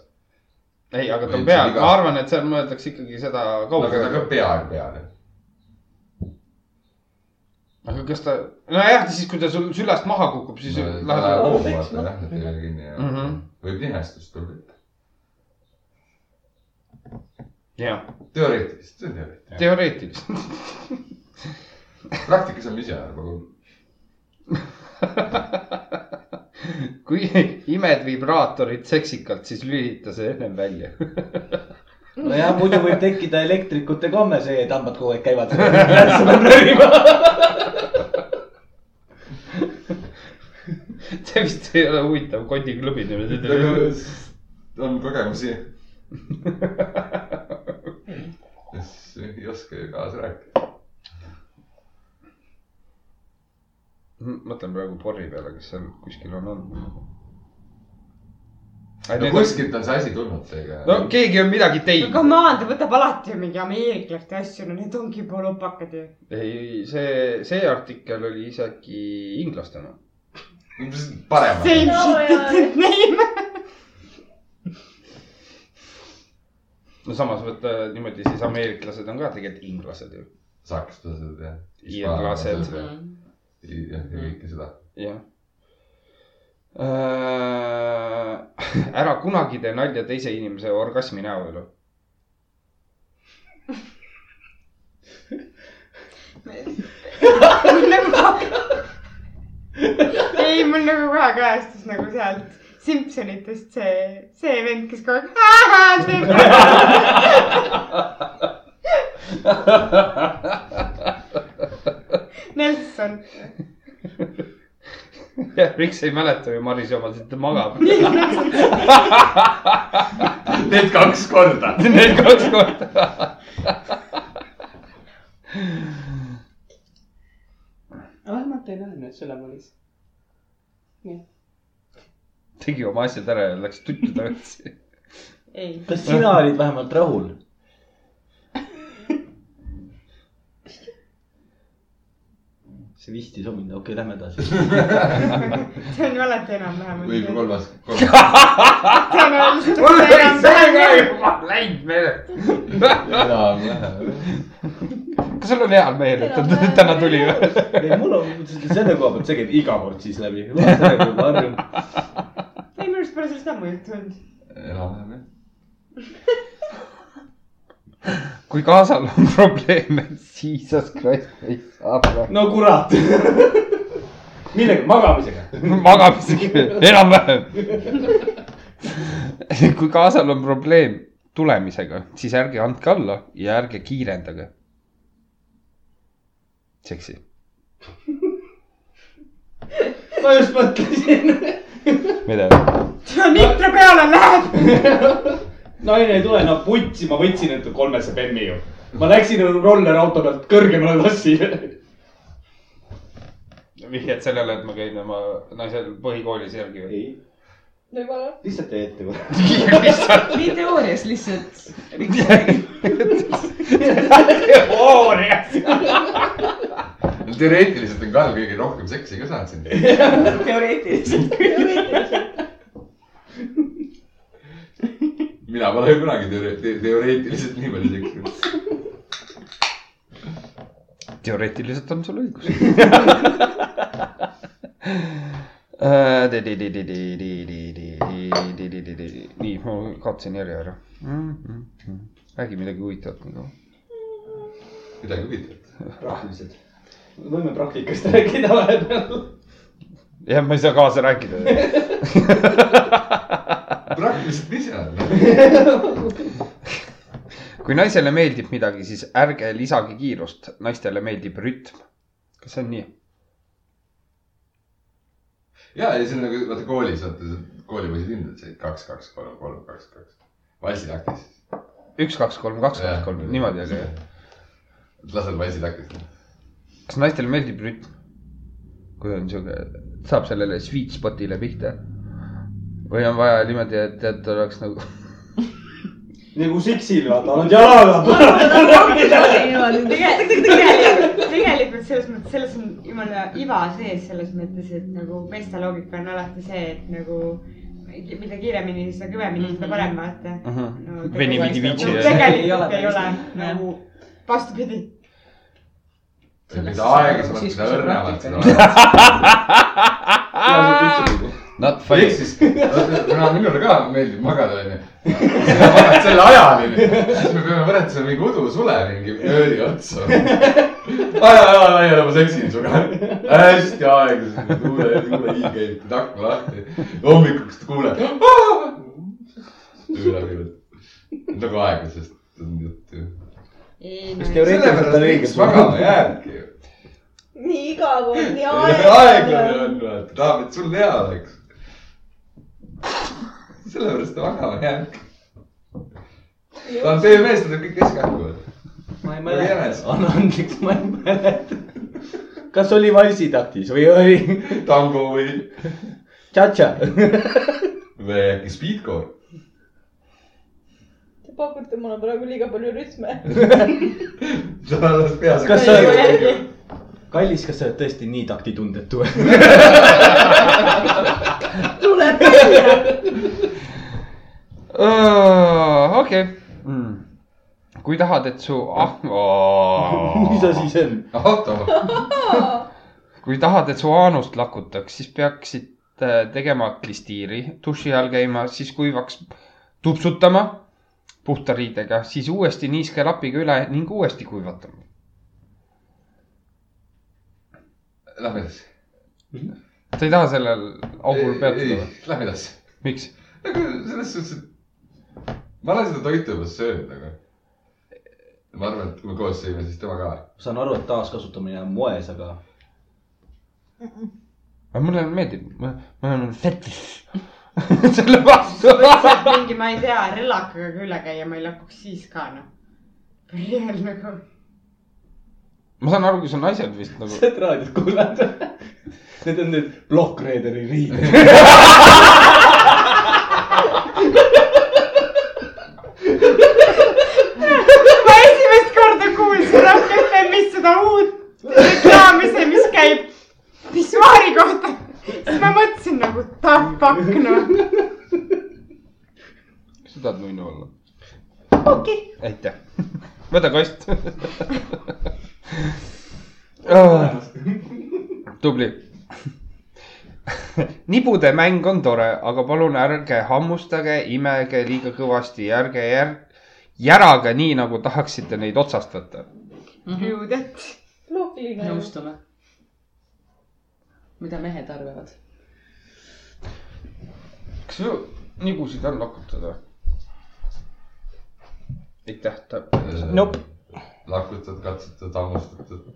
ei , aga ta Või on see peal , viga. ma arvan , et seal mõeldakse ikkagi seda aga ta ka kaugele . peaaegu peal . aga kas ta , nojah , siis kui ta sul sülast maha kukub , siis no, lähed . hoomu vaata nagu jah , et ei ole kinni ja Mhm. võib nihestust tulla . jah , teoreetiliselt , see on teoreetiline . teoreetiliselt . praktikas on ise nagu kui imed vibraatorit seksikalt , siis lülita see ennem välja . nojah , muidu võib tekkida elektrikute komme see , et hambad kogu aeg käivad . sa pead röövima . see vist ei ole huvitav kotiklubi niimoodi . on kogemusi . siis ei oska ju kaasa rääkida . mõtlen praegu porri peale , kes seal kuskil on olnud . no kuskilt on see asi tulnud seega . no keegi on midagi teinud . Come on , ta võtab alati ju mingi ameeriklaste asju , no need ongi juba lopakad ju . ei , see , see artikkel oli isegi inglaste oma . parem . Same No, shit , different name . no samas võtta niimoodi , siis ameeriklased on ka tegelikult inglased ju . sakslased ja . Hiinlased. Mhm. jah , ja kõike seda . jah . Äh, ära kunagi tee nalja teise inimese orgasmi näo üle . nagu ei , mul nagu kohe kajastus nagu sealt Simpsonitest see , see vend , kes kogu aeg teeb . Nelson , miks ei mäleta ju Marise omasid , ta magab . Need kaks korda . Need kaks korda . Ah, vähemalt ei näinud selle mõis . tegi oma asjad ära ja läks tuttu tagasi . ei , kas sina olid vähemalt rahul ? see vistis on mind , okei , lähme edasi . see on ju alati enam-vähem . või kui kolmas , kolmas . mul oli see ka tõenäoliselt . juba läinud meelest . enam-vähem . kas sul on hea meel , et ta täna tuli või ? ei , mul on selle koha pealt see käib iga kord siis läbi . ma sellega juba harjun . ei , minu arust pole sellest ammu juttu olnud . enam-vähem jah . kui kaasal on probleeme , jesus christ , ei saa praegu . no kurat . millega , magamisega ? magamisega , enam-vähem . kui kaasal on probleem tulemisega , siis ärge andke alla ja ärge kiirendage . seksi . ma just mõtlesin . mida ? nitra peale läheb . naine ei tule , no putsi , ma võtsin endale kolmese bemmi ju . ma läksin rollerauto pealt kõrgemale lossile vihjad sellele , et ma käin oma naisel põhikoolis järgi või ? ei , võib-olla . lihtsalt tee ette kohe . nii teoorias lihtsalt . teoorias . teoreetiliselt on Karl kõige rohkem seksi ka saanud siin . teoreetiliselt . teoreetiliselt . mina pole kunagi teore- te- teoreetiliselt nii palju seksinud . teoreetiliselt on sul õigus . nii , ma kaotasin järje ära . räägi midagi huvitavat nagu . midagi huvitavat . praktiliselt . võime praktikast rääkida vahepeal . jah , ma ei saa kaasa rääkida . praktiliselt mis seal . kui naisele meeldib midagi , siis ärge lisage kiirust , naistele meeldib rütm . kas see on nii ? ja , ja see on nagu vaata koolis , vaata koolipoisid hindavad said kaks , kaks , kolm , kolm , kaks , kaks . valsitaktis . üks , kaks , kolm , kaks , kaks , kolm , niimoodi oli jah . lased valsitaktis . kas naistele meeldib rütm ? kui on sihuke , saab sellele sweet spot'ile pihta . või on vaja niimoodi , et , et oleks nagu nagu seksil , vaata , annad jalaga . tegelikult , tegelikult selles mõttes , selles on jumala iva sees selles mõttes , et nagu meeste loogika on alati see , et nagu mida kiiremini , seda kõvemini , seda parem vaata . uh . -huh. No, venimisi no viitsi Ei ole. ja . tegelikult Mhm. ei Ei ole ole päris nii. nagu vastupidi . mida aeglasemalt , seda õrnemalt , seda parem . Not ehk funny . siis , kuna minule ka meeldib magada , onju . sina magad selle ajani , siis me peame võrdsema mingi udusule mingi ööli otsa . aja , aja , aja , ma seksin sinuga . hästi aeglaselt , kuule , kuule , hing käib takna lahti . hommikuks kuuled . öö läbi veel . nagu aeglasest on juttu ju . Kas teoreet- sellepärast võiks magama jääbki ju . nii igav on , nii aeglane aeglane on . on , vaata , tahab , et sul hea oleks . sellepärast ta magama jääbki . ta on teie mees , ta teeb kõik keskeltkohad . ma ei mäleta. anna andeks , ma ei mäleta . kas oli valsitaktis või oli tango või , tšatša ? või äkki speedcore . Te pakute mulle praegu liiga palju rütme . sa oled peas . Kas sa- kallis , kas sa oled tõesti nii taktitundetu ? tuleb välja . okei . Mm. kui tahad , et su mis ah- , asi see on ? oota , kui tahad , et su aanust lakutaks , siis peaksid äh, tegema klistiiri , duši all käima , siis kuivaks tupsutama puhta riidega , siis uuesti niiske lapiga üle ning uuesti kuivatama . lähme edasi . sa ei taha sellel augul peatuda või ?? Lähme edasi . miks ? nagu selles suhtes , et ma olen seda toitu juba söönud , aga ma arvan , et kui me koos sõime , siis tema ka . saan aru , et taaskasutamine on moes , aga mulle meeldib , ma ma olen nagu fetiš . selle vastu . lihtsalt mingi , ma ei tea , relakaga ka üle käia , ma ei lakkuks siis ka noh . real nagu . ma saan aru , kui sa naised vist nagu oled raadiot kuulanud ? Need on need plokkreederi riided . ma esimest korda kuulsin Rakefemist seda uut reklaami , see , mis käib pissuaari kohta . siis ma mõtlesin nagu the fuck noh . sa tahad nunnu olla . okei okay. , aitäh . võta kast . Ah. tubli . nibude mäng on tore , aga palun ärge hammustage , imege liiga kõvasti ja ärge jär- , järage nii , nagu tahaksite neid otsast võtta . you that . loogiline . nõustume . mida mehed arvavad ? kas ju nibusid on lakutud või ? aitäh , ta . Äh, Nope. . lakutad , katsetad , hammustatad .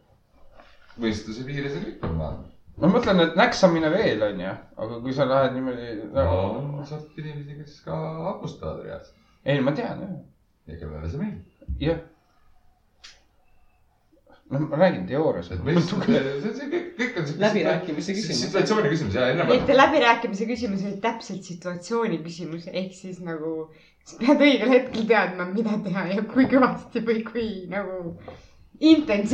mõistuse piires on kõik normaalne . ma mõtlen , et näksamine veel on ju , aga kui sa lähed niimoodi nagu- on sealt inimesi , kes ka hammustavad reaalselt . ei , ma tean jah , ja kellele see meeldib . jah . noh , ma räägin teoorias . et mis , see , see kõik , kõik on siuke . Läbirääkimise küsimus. situatsiooni küsimus ja enam-vähem . et läbirääkimise küsimus oli täpselt situatsiooni küsimus , ehk siis nagu sa pead õigel hetkel teadma , mida teha ja kui kõvasti või kui nagu Inimest-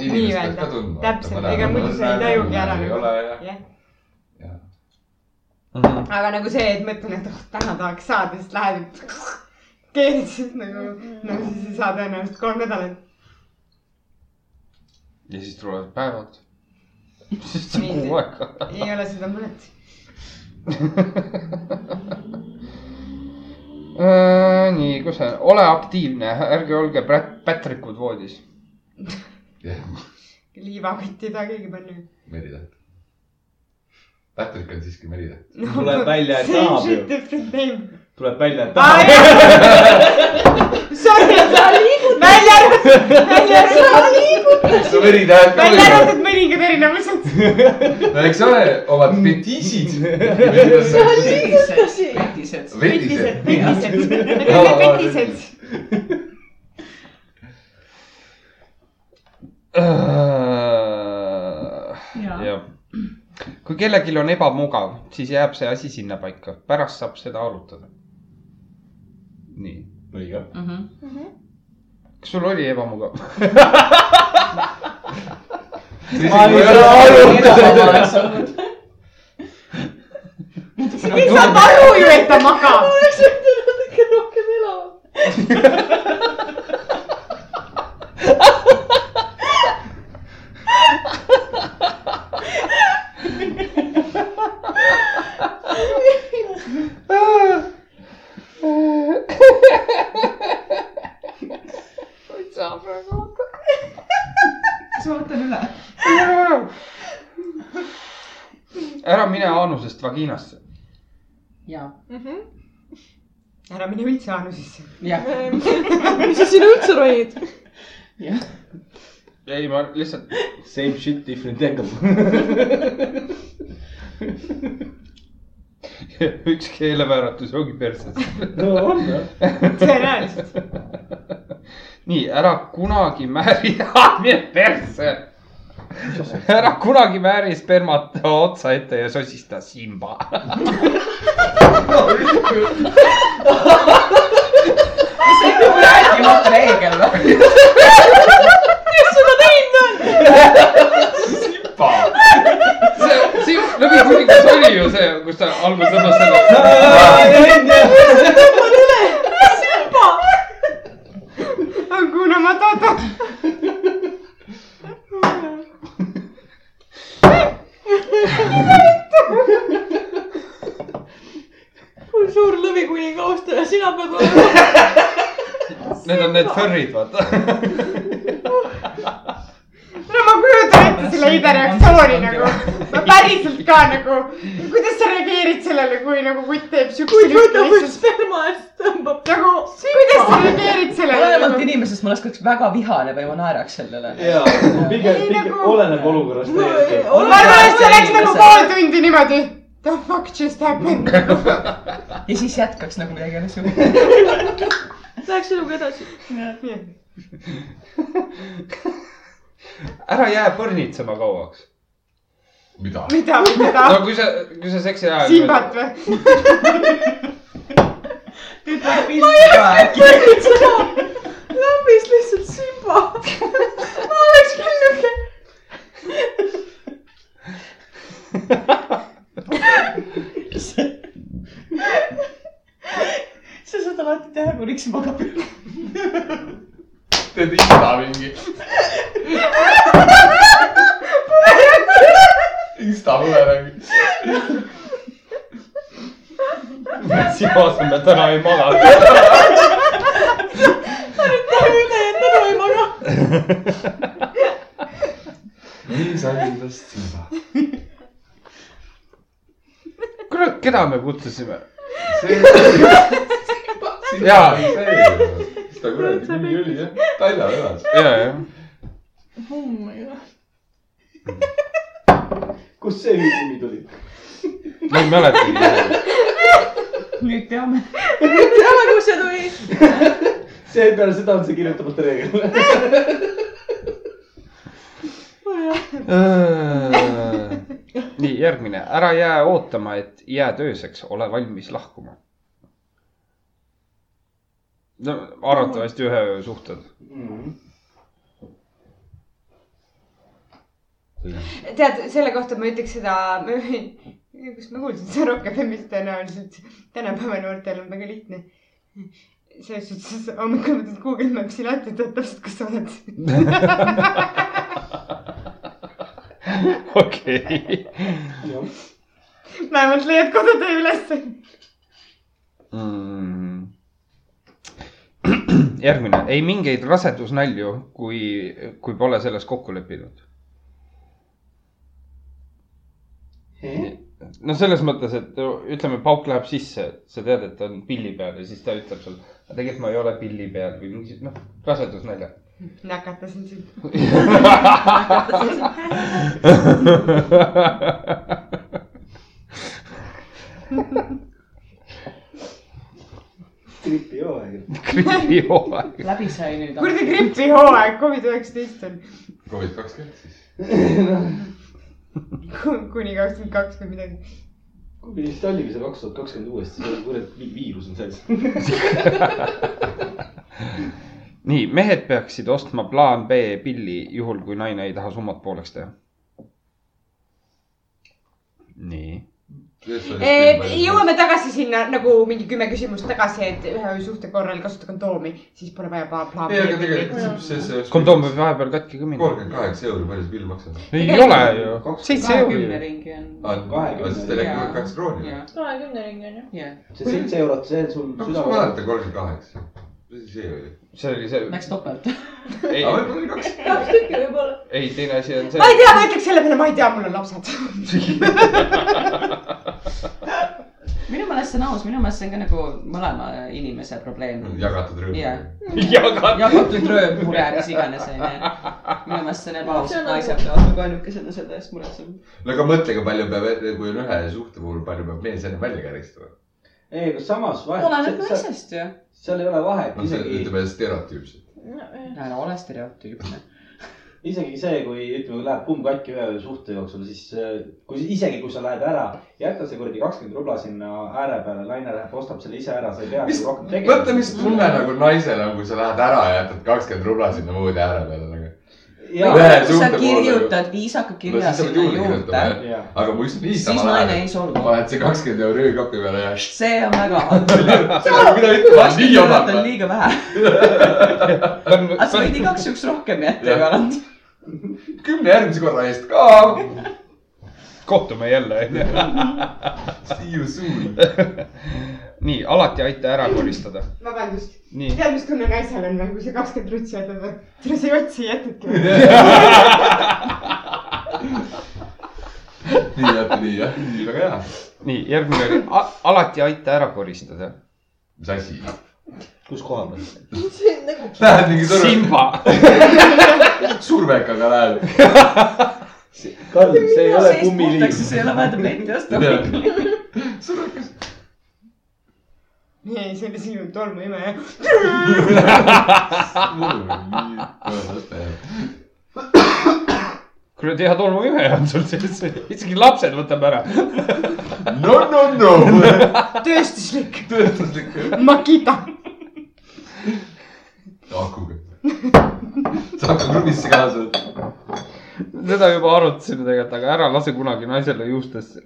inimest pead nii-öelda ka tundma. . täpselt , Ma ega tahan- muidu sa ei tajugi ära ei nagu ole, . jah. jah , Jah. aga nagu see , et mõtlen , et oh , täna tahaks saada , siis lähed keerad siis nagu , no siis ei saa tõenäoliselt kolm nädalat . ja siis tulevad päevad . siis on Nii, kuu see- aega . ei ole seda mõtet . Äh, nii , kus see , ole aktiivne , ärge olge prä- pätrikud voodis . jah , liivakotti ei taha keegi panna . Meritäht . Patrick on siiski Meritäht . Tuleb välja, et same tahab ju. shit different name . tuleb välja , et Aa, tahab . jah. Sorry , sa liigud . välja arvatud , välja arvatud , eks ole , Meritäht ka välja võib-olla . arvatud mõningad erinevused . no eks ole , omad petiisid . vetised . petised , petised . petised , jah. petised , me teeme petised . Äh. jah . kui kellelgi on ebamugav , siis jääb see asi sinnapaika , pärast saab seda arutada . nii , õige . Mhm. Mhm. kas sul oli ebamugav ? ma ei saa aru . sa kõik saad aru ju , et ta magab . oleks võinud natuke rohkem elama . kas ma võtan üle ? ära mine aanusest vaginasse . ja , ära mine üldse aanusesse . ja , mis sa sinna üldse ronid ? ja . ei , ma lihtsalt , Same shit , different angle . üks keelevääratus ongi perses . no on jah . tõenäoliselt . nii , ära kunagi määri , mine persse . ära kunagi määri spermat otsa ette ja sosista Simba . see on nagu rääkimata reegel või ? see , see lõpukuningas oli ju see , kus ta algul tõmbas selle . Hakuna Matata . mul suur lõvikuninga austaja , sina pead olema . Need on need furrid , vaata . no ma kujutan ette selle Ida reaktsiooni nagu , ma päriselt ka nagu , kuidas sa reageerid sellele , kui nagu kutt teeb kui siukse võtab ühe sperma eest , tõmbab . nagu , kuidas sa reageerid olenevalt sellele ? inimesest ma oleks ka väga vihane või ma naeraks sellele . ja , pigem , pigem oleneb olukorrast täiesti . ma arvan , et see läks nagu pool tundi niimoodi . The fuck just happened ? ja siis jätkaks nagu midagi oleks juhtunud . Läheks eluga edasi . ära jää põrnitsema kauaks . mida ? mida , mida ? no kui sa , kui sa seksi ajal . Simbat või ? lambis lihtsalt Simba . ma oleks küll niuke . sa saad alati teha , kui Riks magab . teed isa mingi . Insta põlerangi . Simas me täna ei maga . nii sai endast Insta . kurat , keda me kutsusime ? Jaa. jaa . mis ta kuradi nimi oli jah ? Talja elas . ja , jah . Oh kust see nüüd nimi tuli ? ma ei mäletagi . nüüd teame . teame , kus see tuli . see peale seda on see kirjutamata reegel . nii , järgmine , ära jää ootama , et jääd ööseks , ole valmis lahkuma . no arvatavasti ühe öö suhted . Mm-hmm. tead , selle kohta ma ütleks seda , kus ma kuulsin seda Rock FM-ist tõenäoliselt . tänapäeva noortel on väga lihtne . selles suhtes , et hommikul võtad Google Maps'i lahti , tead täpselt , kus sa oled . okei . vähemalt leiad kodutöö ülesse . Mm. järgmine , ei mingeid rasedusnalju , kui , kui pole selles kokku leppinud . no selles mõttes , et ütleme , pauk läheb sisse , sa tead , et ta on pilli peal ja siis ta ütleb sulle , tegelikult ma ei ole pilli peal või mingi noh , rasedusnalja . nakatasin sind . gripihooaeg . gripihooaeg . läbi sai nüüd . kuradi gripihooaeg , Covid üheksateist on Covid kakskümmend siis . Ku- kuni kakskümmend kaks või midagi . kuulge , vist oligi see kaks tuhat kakskümmend uuesti , see kuradi viirus on sees . nii , mehed peaksid ostma plaan B pilli , juhul kui naine ei taha summat pooleks teha . nii . Eh, jõuame tagasi sinna nagu mingi kümme küsimust tagasi , et ühe öö suhte korral kasuta kondoomi , siis pole vaja plaan , plaan ei , aga tegelikult see , see , see . kondoom võib vahepeal katki ka minna . kolmkümmend kaheksa euri , palju see pill maksab ? ei ole ju . seitse kahekümne euri . ringi on . kahekümne , siis ta Jaa. läheb kaks krooni . jah , kahekümne ringi on ju . jah . see seitse eurot , see sul no kus ma südame . mäletan kolmkümmend kaheksa ? mis asi see oli ? see oli see , Läks topelt . ei , aga võib-olla oli kaks . kaks tükki võib-olla . ei teine asi on ma see ei . tea , ma ütleks selle peale , ma ei tea , mul on lapsed . minu meelest see on aus , minu meelest see on ka nagu mõlema inimese probleem . Mm, jagatud rühm Jah. yeah. . jagatud rööv , mure , mis iganes onju . minu meelest see on ebaaus , See on et naised nagu- peavad väga ainukesena selle eest muretsema . no aga mõtle , kui palju peab , kui on ühe suhte puhul , palju peab mees enne välja käristama . ei , aga samas nagu vahet , oleneb naisest ju . seal ei ole vahet no see isegi , ütleme stereotüüpselt . ära ole stereotüüpne . isegi see , kui ütleme , kui läheb pumm katki ühe suhte jooksul , siis äh, kui isegi , kui sa lähed ära , jäta see kuradi kakskümmend rubla sinna ääre peale , naine läheb , ostab selle ise ära , sa ei pea Mis- nagu rohkem mõtle , tegema . mis tunne nagu naisel on , kui sa lähed ära ja jätad kakskümmend rubla sinna voodi ääre peale nagu . ja , Ühe kui sa suhte poole kirjutad viisaka No kirja siis sa pead sinna juurde juurde kirjutama, , ja , aga kui just siis niisama naine lähed , ei solvu . paned see kakskümmend euri öökapi peale ja . see on väga halb . mida ütlema , nii kirjutad odavalt . liiga vähe . aga sa võid igaks juhuks rohkem jätta Jah. ju alati . kümne järgmise korra eest ka . kohtume jälle , onju . See you soon . nii , alati aita ära koristada . vabandust , nii . tead , mis tunne naisel on või , kui sa kakskümmend rutsi jätad või ? tule sa ei otsi , jätadki või ? nii , vaata nii jah , nii väga hea . nii , järgmine oli , alati aita ära koristada . mis asi ? kus koha peal ? see on nagu , Lähed mingi surve , Simba . survekaga lähed . Karl , see ei ole kummiliin . see ei ole vaja tabletti osta . survekas . ei , see oli sinu tolmuimeja . kuradi hea tolmuimeja on sul sees , isegi lapsed võtab ära . no , no , no . tööstuslik töötuslik Makita . akuga . sa hakkad kruvisse kaasa . seda juba arutasime tegelikult , aga ära lase kunagi naisele juustesse .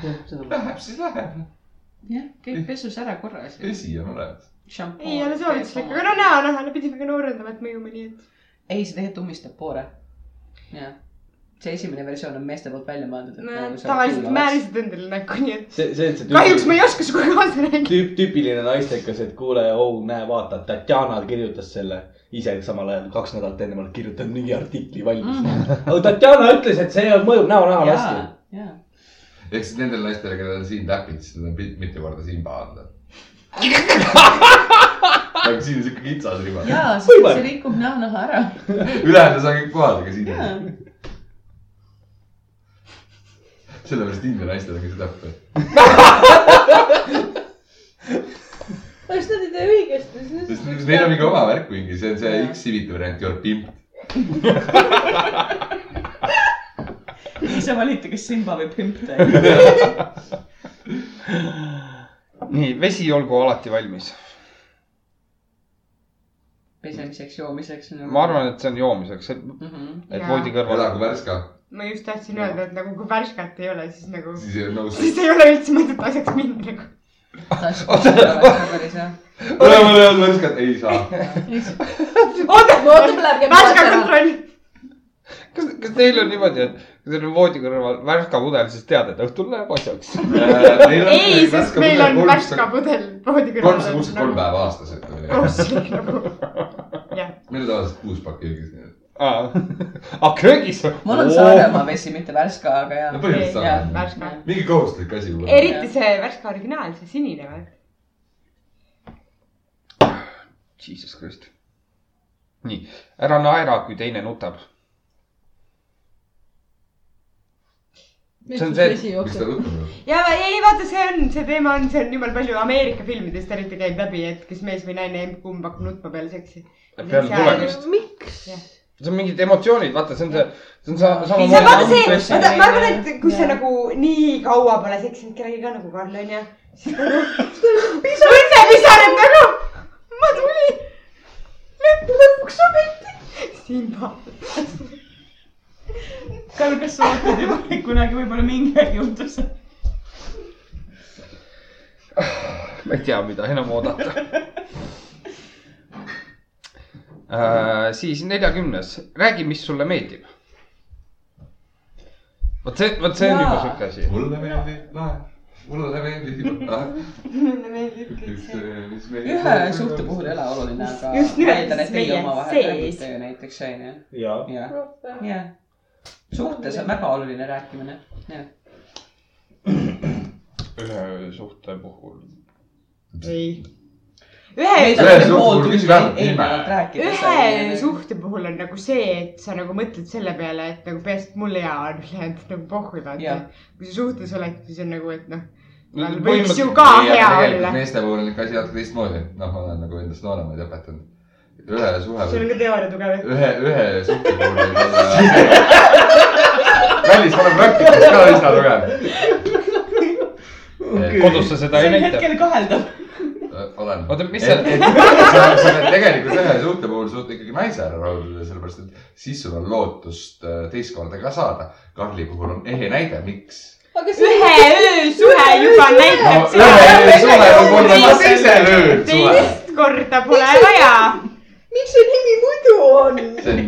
Läheb siis läheb . jah , käid pesus ära korra ja siis . vesi on olemas . ei ole soovituslik , aga no noh, näonaha , pidime ka noorendama , et mõjume nii , et . ei , see tegelikult ummistab poore . jah , see esimene versioon on meeste poolt välja mõeldud . tavaliselt . määrisid endale näkku , nii et see , see , et see kahjuks ma ei oska sinuga kaasa rääkida . tüüp , tüüpiline naistekas , et kuule , oh näe , vaata , Tatjana kirjutas selle ise samal ajal kaks nädalat enne ma olen kirjutanud mingi artikli valmis mm. . Mhm. aga Tatjana ütles , et see mõjub näo-näole jaa hästi ., jaa . ehk siis nendel naistel , kellel on siin täpid , siis nad on pil- mitu korda Simba anda . aga Nagu siin on siuke kitsas riba . jaa , see see rikub näonaha ära . ülejäänud on kõik kohal , aga siin jaa on . sellepärast India naistel on ka see täpp . kas nad ei tee õigesti , siis sest neil on mingi oma värk mingi , see on see üks sivita variant , your pimp . ja siis sa valid , kas Simba või Pimp teha . nii , vesi olgu alati valmis . pesemiseks , joomiseks . nagu- Mhm. ma arvan , et see on joomiseks , et , et Jaa. voodi kõrval . elagu värska , ma just tahtsin öelda , et nagu kui värskat ei ole , siis nagu , siis ei ole nõus . siis ei ole üldse mõtet asjaks minna nagu . et . ole mul head värskat , ei saa . oota , oota , läheb ja värska . kontroll . kas , kas teil on niimoodi , et kui teil on voodi kõrval värska pudel , siis tead , et õhtul läheb asjaks ? ei , Äh, sest meil on värska . pudel voodi kolmsada kuuskümmend kolm . päeva aastas , ütleme nii . kosslik nagu , jah . meil on tavaliselt kuus pakki öögis , nii et aa , köögis ? mul on Saaremaa vesi , mitte Värska , no aga jaa . põhimõtteliselt Jaa, saame . värska . mingi kohustuslik asi . eriti see värske originaal , see sinine või ? Jesus Christ . nii , ära naera , kui teine nutab . miks See on siis see- vesi miks ta jookseb ? rutab ? ja ei vaata , see on , see teema on , see on jumala palju Ameerika filmidest eriti käib läbi , et kas mees või naine , kumb hakkab nutma peale seksi . peale tulemist . miks ? see on mingid emotsioonid , vaata , see on see , see on sa- see on vaata see , samamoodi . vaata ma arvan , et kui sa Jaa. nagu nii kaua pole seksinud kellegagi ka nagu Karl onju , siis nagu õnne pisarad nagu , ma tulin , lõpuks ometi , Simba . Kalle , kas sa ootad juba , et kunagi võib-olla mingi aeg juhtub see ? ma ei tea , mida enam oodata äh, . siis neljakümnes , räägi , mis sulle meeldib . vot see , vot see on Jaa. juba siuke asi . mulle meeldib laev , mulle meeldib laev . mulle meeldib kõik see . ühe suhte puhul ei ole oluline , aga Just nimelt, eeldan , et mis teie meie omavahel sees. räägite ju näiteks , onju . jaa . jah , jah . suhtes on väga oluline rääkimine , jah . ühe suhte puhul . ei . ühe Ühe suhte puhul küsi vähemalt nime. ühe . suhte puhul on nagu see , et sa nagu mõtled selle peale , et nagu peaasi , et mul hea on , ülejäänud nagu pohhu ei vaata Jah. . kui sa suhtes oled , siis on nagu , et noh , võiks ju ka hea olla . meeste puhul on ikka asi natuke teistmoodi , noh , ma olen nagu endast nooremaid õpetanud . ühe suhe sul on , ka teooria tugev . ühe , ühe suhte puhul võib olla . välismaa praktikas ka üsna tugev . kodus sa seda ei sel näita . hetkel kaheldab . olen . Oota, mis sa sa- ? sa sa pead tegelikult ühe suhte puhul suutma ikkagi naise ära rahuldada , sellepärast et siis sul on lootust äh, teist korda ka saada . Karli puhul on ehe näide , miks . aga ühe öösuhe juba näitab no ühe öö suhe võib olla ka teisel ööl suhe . teist korda pole vaja . miks see nimi muidu on ? see on ,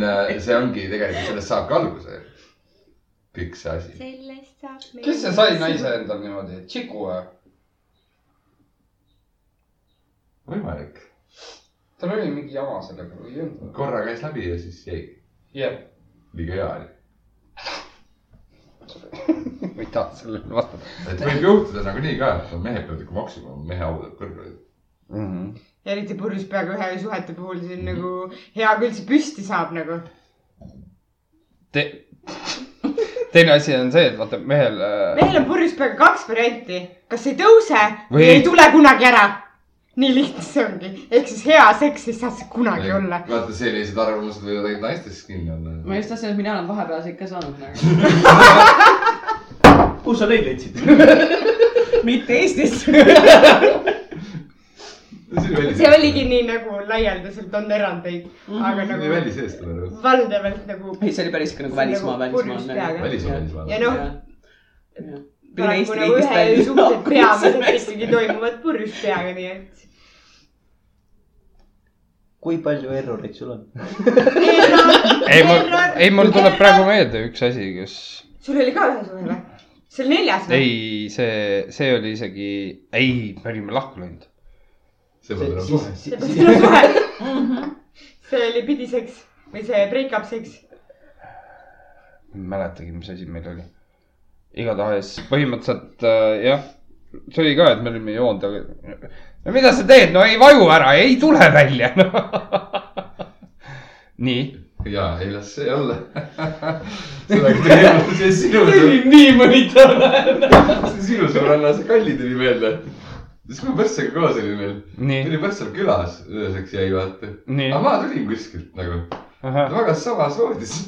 see ongi tegelikult , sellest saabki alguse . kõik see asi . sellest saab . kes see sai naise endal niimoodi , Tšiku või ? võimalik . tal oli mingi jama sellega või ei olnud ? korra käis läbi ja siis jäi . jah . liiga hea oli . ma ei taha sellele vastata et võib juhtuda nagunii ka , et on mehed peavad ikka maksima , mehe au tuleb kõrgele . mm . -hmm. eriti purjus peaga ühe öösuhete puhul , see on nagu hea küll , see püsti saab nagu . Te... teine asi on see , et vaata mehel äh, meil on purjus peaga kaks varianti , kas ei tõuse Või- või ei tule kunagi ära . nii lihtne see ongi , ehk siis hea seks ei saa see kunagi olla . vaata , sellised arvamused võivad ainult naistes kinni olla ma . just tahtsin , et mina olen vahepeal ikka saanud nagu . kus sa neid leidsid ? mitte Eestis . see oligi . nii nagu laialdaselt on erandeid , aga see oli nagu väliseestlane . valdavalt nagu ei , see oli päris ikka nagu See on välismaa , nagu purjus peaga. välismaa . välismaa , välismaa ja . noh , Eesti paraku nagu riigist ühe välja. öösuhted peamiselt ikkagi toimuvad purjus peaga , nii et . kui palju erroreid sul on ? ei , mul , ei , mul tuleb praegu meelde üks asi , kus , sul oli ka ühe suhe või ? see oli neljas või ? ei , see , see oli isegi , ei , me olime lahku läinud . see pole nagu enam suhe . see oli suhe . see oli pidiseks või see break-up seks . ei mäletagi , mis asi meil oli . igatahes põhimõtteliselt äh, jah , see oli ka , et me olime joonud , aga no mida sa teed , no ei vaju ära , ei tule välja noh. nii . ja ei las see olla . sellega tegelikult see sinu , nii mõnitav . see sinu sõbranna , see Kalli tuli meelde . siis ma Põrtsaga koos olin veel . nii , tuli Põrtsal külas ööseks jäi vaata . nii aga ma tulin kuskilt nagu . ta magas samas voodis .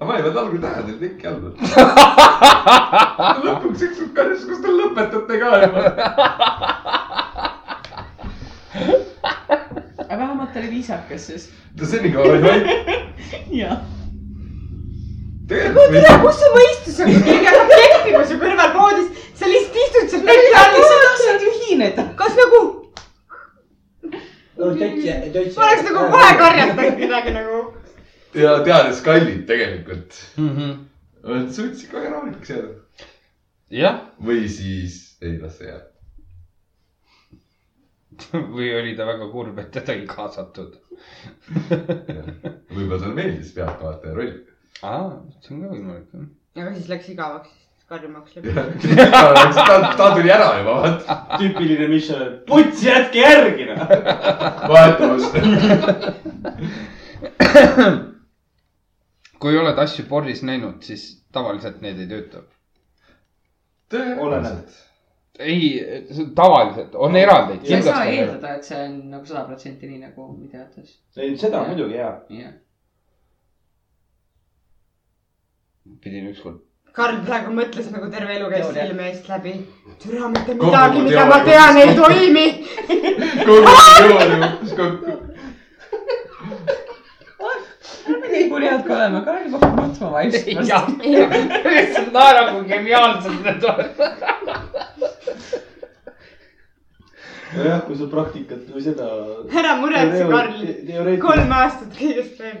aga ma ei pannud algul tähele , et teki all on . lõpuks ükskord karjus , kus te lõpetate ka juba . aga vähemalt ta oli viisakas siis . ta senikaua oli vait . jah . tegelikult tea , võis- kus su mõistus on , kui keegi hakkab keppima su kõrval poodis , sa lihtsalt istud seal teki all . tahtsid ju hiinida . kas nagu , ma oleks nagu kohe karjatanud midagi nagu . ja teades kallid tegelikult . mhmh . suutsid kohe rahulikult jääda . jah , või siis ei las see jääb . või oli ta väga kurb , et teda ei kaasatud . võib-olla sulle meeldis pealtvaataja roll . aa , see on ka võimalik jah . aga siis läks igavaks , karjumaks läbi . ta , ta tuli ära juba , vaata , tüüpiline Michal , et putsi jätke järgi noh . vahetavus . kui oled asju porris näinud , siis tavaliselt need ei tööta . Oleneb. . ei , tavaliselt on eraldeid . sa ei saa . eeldada , et see on nagu sada protsenti nii nagu videotes . ei , seda muidugi jaa . jah . pidin ükskord . Karl praegu mõtles nagu terve elu käis Teooria. silme eest läbi . türa mitte Kogu midagi , mida ma teooria tean , ei kukkus toimi . kogu teooria kukkus kokku . nii kurjad ka olema , Karl kukub maksma vaikselt . jah , lihtsalt naerab , kui geniaalsed need on . nojah , kui sa praktikat või seda . ära muretse , Karl . teoreetiliselt . kolm aastat kõigest veel .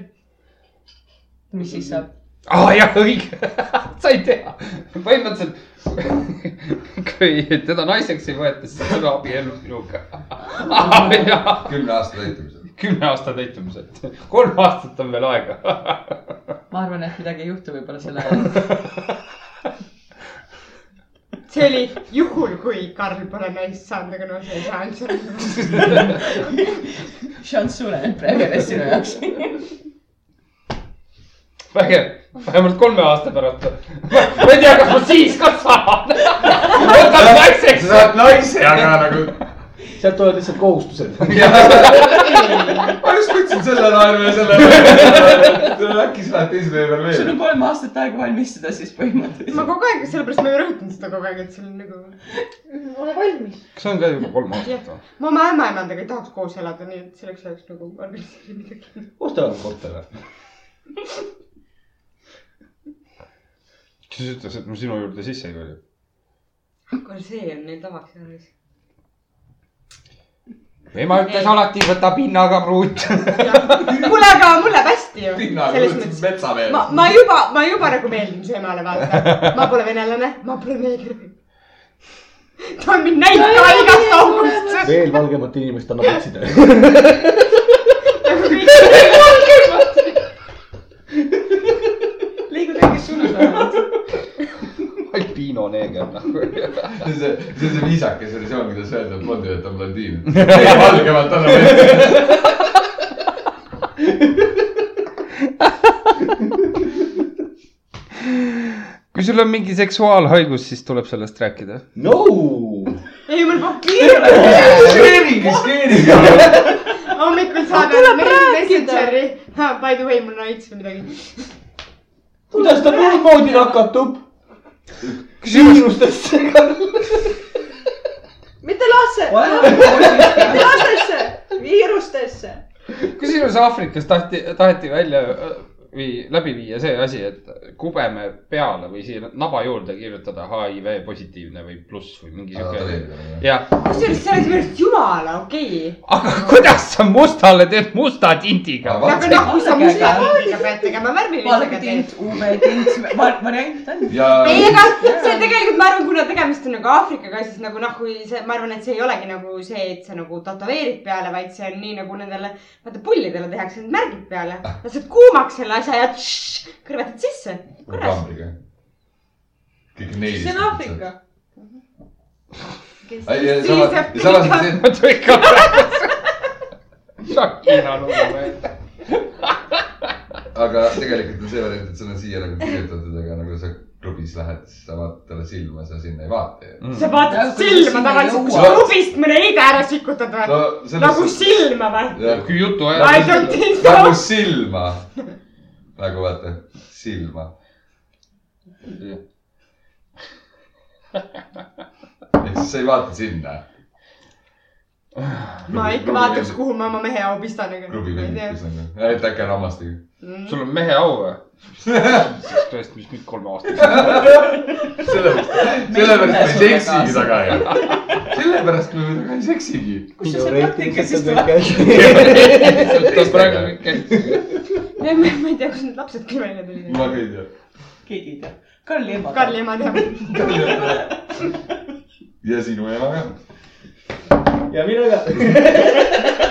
mis siis saab ? aa ah, jah , õige , sa ei tea . põhimõtteliselt , kui teda naiseks ei võeta , siis ta tuleb abiellus minuga . Ah, kümne aasta täitumisel . kümne aasta täitumiselt , kolm aastat on veel aega . ma arvan , et midagi ei juhtu võib-olla selle ajal . see oli juhul , kui Karl pole naist saanud , aga noh , see ei saa üldse . šanss suureneb praegu sinu jaoks . vägev , vähemalt kolme aasta pärast . ma ei tea , kas ma siis ka saan . võtan sa naiseks . saad naise , aga nagu . sealt tulevad lihtsalt kohustused . ma just mõtlesin selle naeru ja selle naeru . äkki sa lähed teise vee peal sul veel on . nagu- kolm aastat aega valmistuda siis ma põhimõtteliselt . kogu aeg , sellepärast ma ju rõhutan seda kogu aeg , et sul on nagu , ole valmis . kas on ka juba kolm aastat või ? ma oma ämmaemandaga ei tahaks koos elada , nii et selleks ajaks nagu organiseerin midagi . ostavad korteri . kes ütles , et ma sinu juurde sisse ei kõli ? kuule , see on neil tavaks jäänud . ema ütles alati , võta pinnaga pruut . kuule , aga mul läheb hästi ju . pinnaga selles mõttes võtad metsa veel ma , ma juba , ma juba nagu meeldin su emale , vaata . ma pole venelane , ma pole neeger . ta on mind näinud ka igast august . veel valgemat inimest annab otsida . liigud äkki surnud vähemalt . albiino neeger nagu . see on see , see on see viisakas versioon , kuidas öelda , et blondi võtab blondiin . valgemalt annab ette . kui sul on mingi seksuaalhaigus , siis tuleb sellest rääkida . no . ei , mul puhk kiire . skeering , skeering . hommikul saadame meili Messengeri . By the way , mul on AIDS või midagi . kuidas ta muud moodi nakatub ? küsimus . mitte lasse , mitte lastesse , viirustesse . kusjuures Aafrikas tahti , taheti välja öö, või läbi viia see asi , et kubeme peale või siia naba juurde kirjutada HIV positiivne või pluss või mingi siuke . jah , kusjuures see oleks minu arust jumala okei okay. . aga kuidas sa mustale teed musta tindiga ? aga noh , kui sa Vaadake, musta aga- koodiga pead tegema värvilisega vaadake teed . tint , UV tint , variant on . ja ei , aga see tegelikult , ma arvan , kuna tegemist on nagu Aafrikaga , siis nagu noh , kui see , ma arvan , et see ei olegi nagu see , et sa nagu tätoveerid peale , vaid see on nii nagu nendele , vaata pullidele tehakse need märgid peale , lased kuumaks selle asja ja tšš, kõrvetad sisse . korras . kambriga . kõik neil . see on Aafrika . ja samas , ja samas on see , ma tulin ka praegu . Shakira lugu meelde . aga tegelikult on see variant , et sul on siia nagu kirjutatud , aga nagu sa klubis lähed , siis sa vaatad talle silma , sa sinna ei vaata ju . sa vaatad silma tavaliselt , kui sa klubist mõne heide ära sikutad või ? no selles nagu . silma või ? kui jutu I don't ajal . think so nagu . silma . nagu vaata , silma . ehk siis sa ei vaata sinna . ma ikka vaataks , kuhu ma oma mehe au pistan , aga . klubi vendis on ju , et äkki on hammastega . sul on mehe au või ? siis tõesti , mis nüüd kolme sellepärast , sellepärast me ei seksigi taga ju . sellepärast me taga ei seksigi . kus sa see praktika siis tuleb ? aastaga ? ma ma ei tea , kus need lapsed küll välja tulid . ma ka ei tea . keegi ei tea . Karli ema . Karli ema teab . ja sinu ema ka . ja mina ka .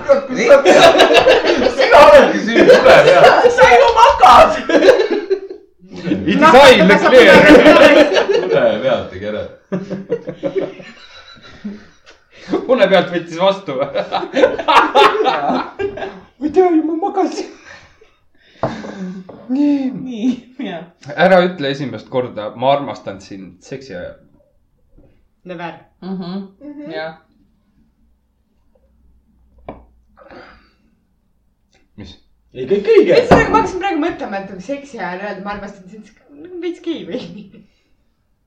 kurat , kus sa oled ? sina oledki siin tule peal . sa ju magad . It's Noh, I , Leclerc . tule pealt tegi ära . une pealt võttis vastu või ? ma ei tea ju , ma magasin . nii . nii , jah . ära ütle esimest korda , ma armastan sind seksi ajal . Never . Mhm, jah , mis ? ei , kõik õige . ühesõnaga , ma hakkasin praegu mõtlema , et kui seksi ajal öelda , ma arvasin , et see on sihuke veits gei või .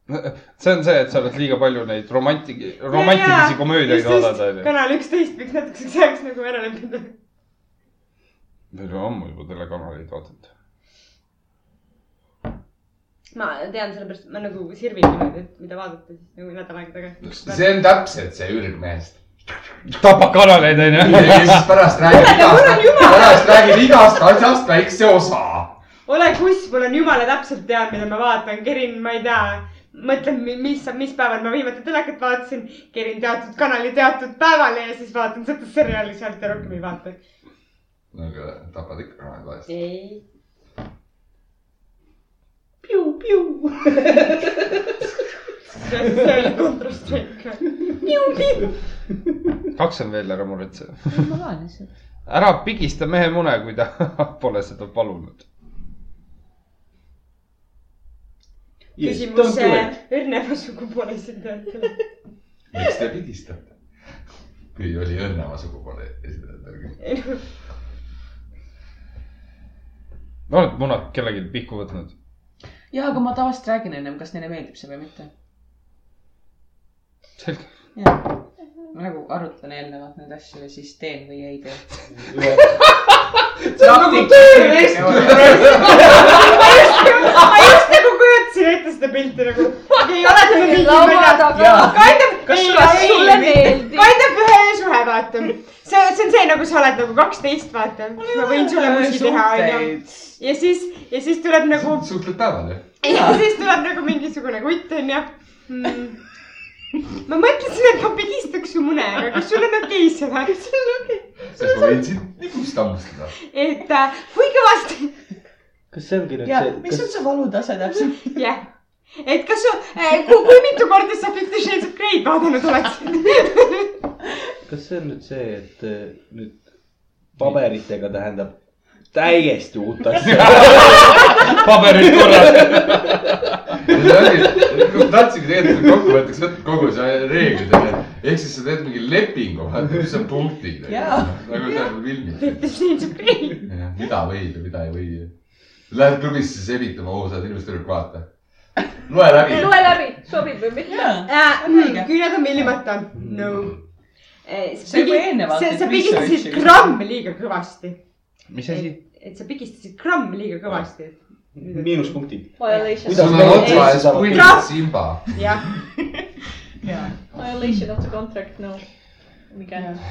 see on see , et sa oled liiga palju neid romantik- , romantilisi komöödiaid vaadanud , onju . kanal üksteist võiks natukeseks ajaks nagu ära lõpetada . me oleme ammu juba telekanaleid vaadanud . ma tean , sellepärast ma nagu sirvin niimoodi , et mida vaadata siis nagu nädal aega tagasi . see on täpselt see ürgmeest . tapab kanaleid , onju . ja siis pärast räägib Kuule, aga mul on igast , jumala- pärast räägib igast asjast väikse osa ole kus , mul on jumala täpselt tean , mida ma vaatan , kerin , ma ei tea , mõtlen , mis , mis päeval ma viimati telekat vaatasin , kerin teatud kanali teatud päevale ja siis vaatan seda seriaali sealt ja rohkem ei vaata . aga tapad ikka kanalid vahest . ei . Piu-piu . see oli kontrastrike . Piu-piu . kaks on veel , ära muretse . ma loen lihtsalt . ära pigista mehe mune , kui ta pole seda palunud . küsimus äh, õrnema sugupoole esindajatele . miks te pigistate ? kui oli õnnema sugupoole esindajatega . oled munad kellelgi pihku võtnud ? jah , aga ma tavaliselt räägin ennem , kas neile meeldib see või mitte . selge . jah , ma nagu arutan eelnevalt neid asju ja siis teen või ei tee . see on nagu töövest . ma just nagu kujutasin ette seda pilti nagu . ei ole seda pilti . laua taga . kaidab , Kas ei sulle- , sulle ei meeldib? , kaidab ühe öösuhe , vaata . see , see on see , nagu sa oled nagu kaksteist , vaata . ma võin sulle musi teha , onju . ja siis , ja siis tuleb nagu , suhtled päeval ju ? ja siis tuleb nagu mingisugune kutt , onju . ma mõtlesin , et ma pigistaks su mune , aga kas sul on okei seda ? sest ma võin sind nipust hammustada . et äh, kui kõvasti , kas see ongi nüüd ja see , mis on kas su valutase täpselt ? jah . et kas su äh, , kui, kui mitu korda sa Fifty Shades of Grey'd vaadanud oled ? kas see on nüüd see , et eh, nüüd paberitega tähendab täiesti uut asja ? paberid korras . tahtsingi tegelikult kokkuvõtteks võtta kogu see reeglid onju . ehk siis sa teed mingi lepingu , vaata mis on punktid . Jaa. nagu tähendab filmis . Fifty Shades of Grey . mida võib ja mida ei või . Lähed klubisse siis evitama , oo sa oled ilusti tüdruk , vaata . loe läbi . loe läbi , sobib või mitte . jaa , Äh, On õige. mm, küüned on ilmata . Mm. no . See juba eelnevalt sa teed sa pigistasid Nagu research'i. gramm liiga kõvasti . mis asi ? et sa pigistasid gramm liiga kõvasti . miinuspunktid . Violation . sul on otsa ees pull simba . jah , Violation of the contract , no . mingi aeg .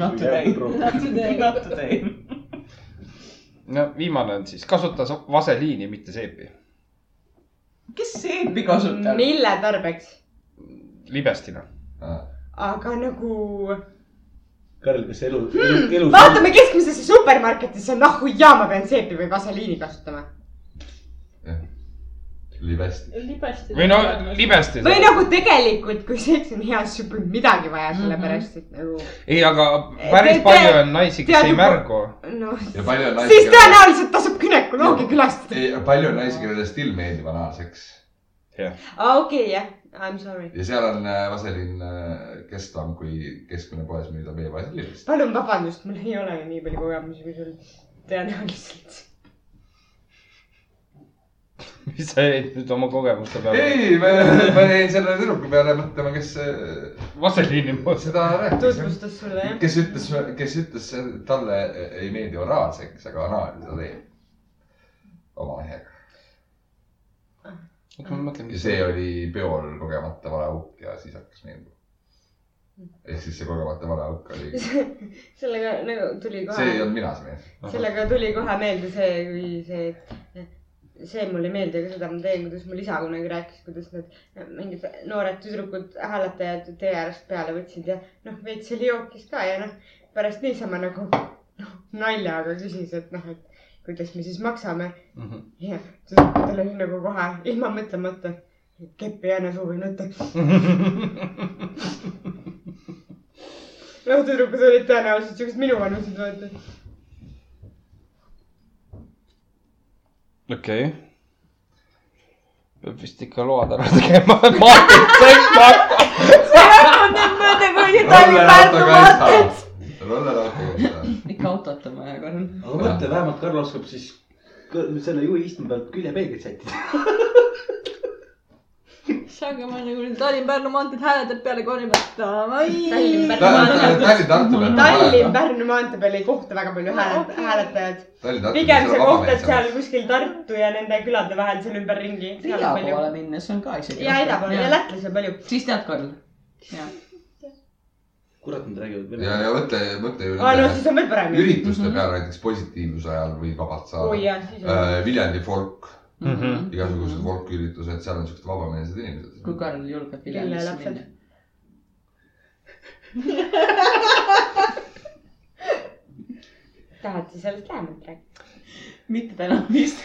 not today , Not today. not today . no viimane on siis , kasuta so- vaseliini , mitte seepi . kes seepi kasutab ? mille tarbeks ? libestina . Ah, aga nagu , Karl , kas elu , Hmm, elu , elu . vaatame keskmisesse supermarketisse , nahhu jaa , ma pean seepi või vaseliini kasutama . libest . libesti . või no . libesti . või nagu tegelikult , kui seks on hea , siis sul pole midagi vaja , Mhm. sellepärast et nagu , ei , aga päris Te- te- palju on naisi , kes tead ei juba- märgu . noh . ja palju on naisi siis . tõenäoliselt tasub günekoloogi külastada . ei , palju on naisi , kellele still meeldib analseks ? okei , jah , I m sorry . ja seal on äh, vaseliin äh, kestvam kui keskmine poes müüdav veevaseliin . palun vabandust , mul ei ole ju nii palju kogemusi kui sul . tõenäoliselt . mis sa jäid nüüd oma kogemuste peale ? ei , ma , ma jäin selle tüdruku peale mõtlema , kes äh, vaseliini moodi . seda rääkis . tutvustas sulle jah ? kes ütles , kes ütles , talle ei meeldi oraalseks , aga anaalise ta teeb . oma mehega . oota , ma mõtlen , ja mis see oli peol kogemata vale auk ja siis hakkas meeldima . ehk siis see kogemata vale auk oli , sellega nagu tuli kohe . see ei olnud mina , see mees . sellega tuli kohe meelde see , kui see , et see mulle ei meeldi , aga seda ma teen , kuidas mul isa kunagi rääkis , kuidas need äh, mingid noored tüdrukud , hääletajad tee äärest peale võtsid ja noh , veits oli jookis ka ja noh , pärast niisama nagu noh , naljaga küsis , et noh , et kuidas me siis maksame mm . -hmm. ja tüdrukutel oli nagu kohe ilma mõtlemata keppi jäne suvi nõtta . noh , tüdrukud olid tõenäoliselt siuksed minuvanused , vaata . okei okay. . peab vist ikka load ära tegema . Martin , kõik Martin . mõtle , kui rollerautoga ei saa . rollerautoga ei saa . ikka autot on vaja korra . aga mõtle , vähemalt Karl oskab siis kõ- selle juhi istme pealt küljepeeglit sättida . issand , ma nagu nüüd Tallinn-Pärnu maanteed hääldab peale korimata . Tallinn-Pärnu Tallinn-Tartu peal . Tallinn-Pärnu maantee peal ei kohta väga palju hääle , hääletajaid . pigem sa kohtad seal . kuskil Tartu ja nende külade vahel seal ümberringi . ida poole minnes on ka isegi . ja ida poole ja . lätlasi on palju . siis tead , Karl . kurat , nad räägivad ja , veel . ja mõtle , mõtle ju aa , no siis on veel parem . ürituste peale näiteks positiivsuse ajal võib vabalt oi saada . jaa , siis on . Viljandi folk , Mm Mhm. -hmm. igasugused folküritused , seal on siuksed vabameelsed Mhm. kui inimesed . Karl julgeb kelle Viljandisse lapsed minna ?? tahad sa sellest lähemalt rääkida ? mitte täna vist .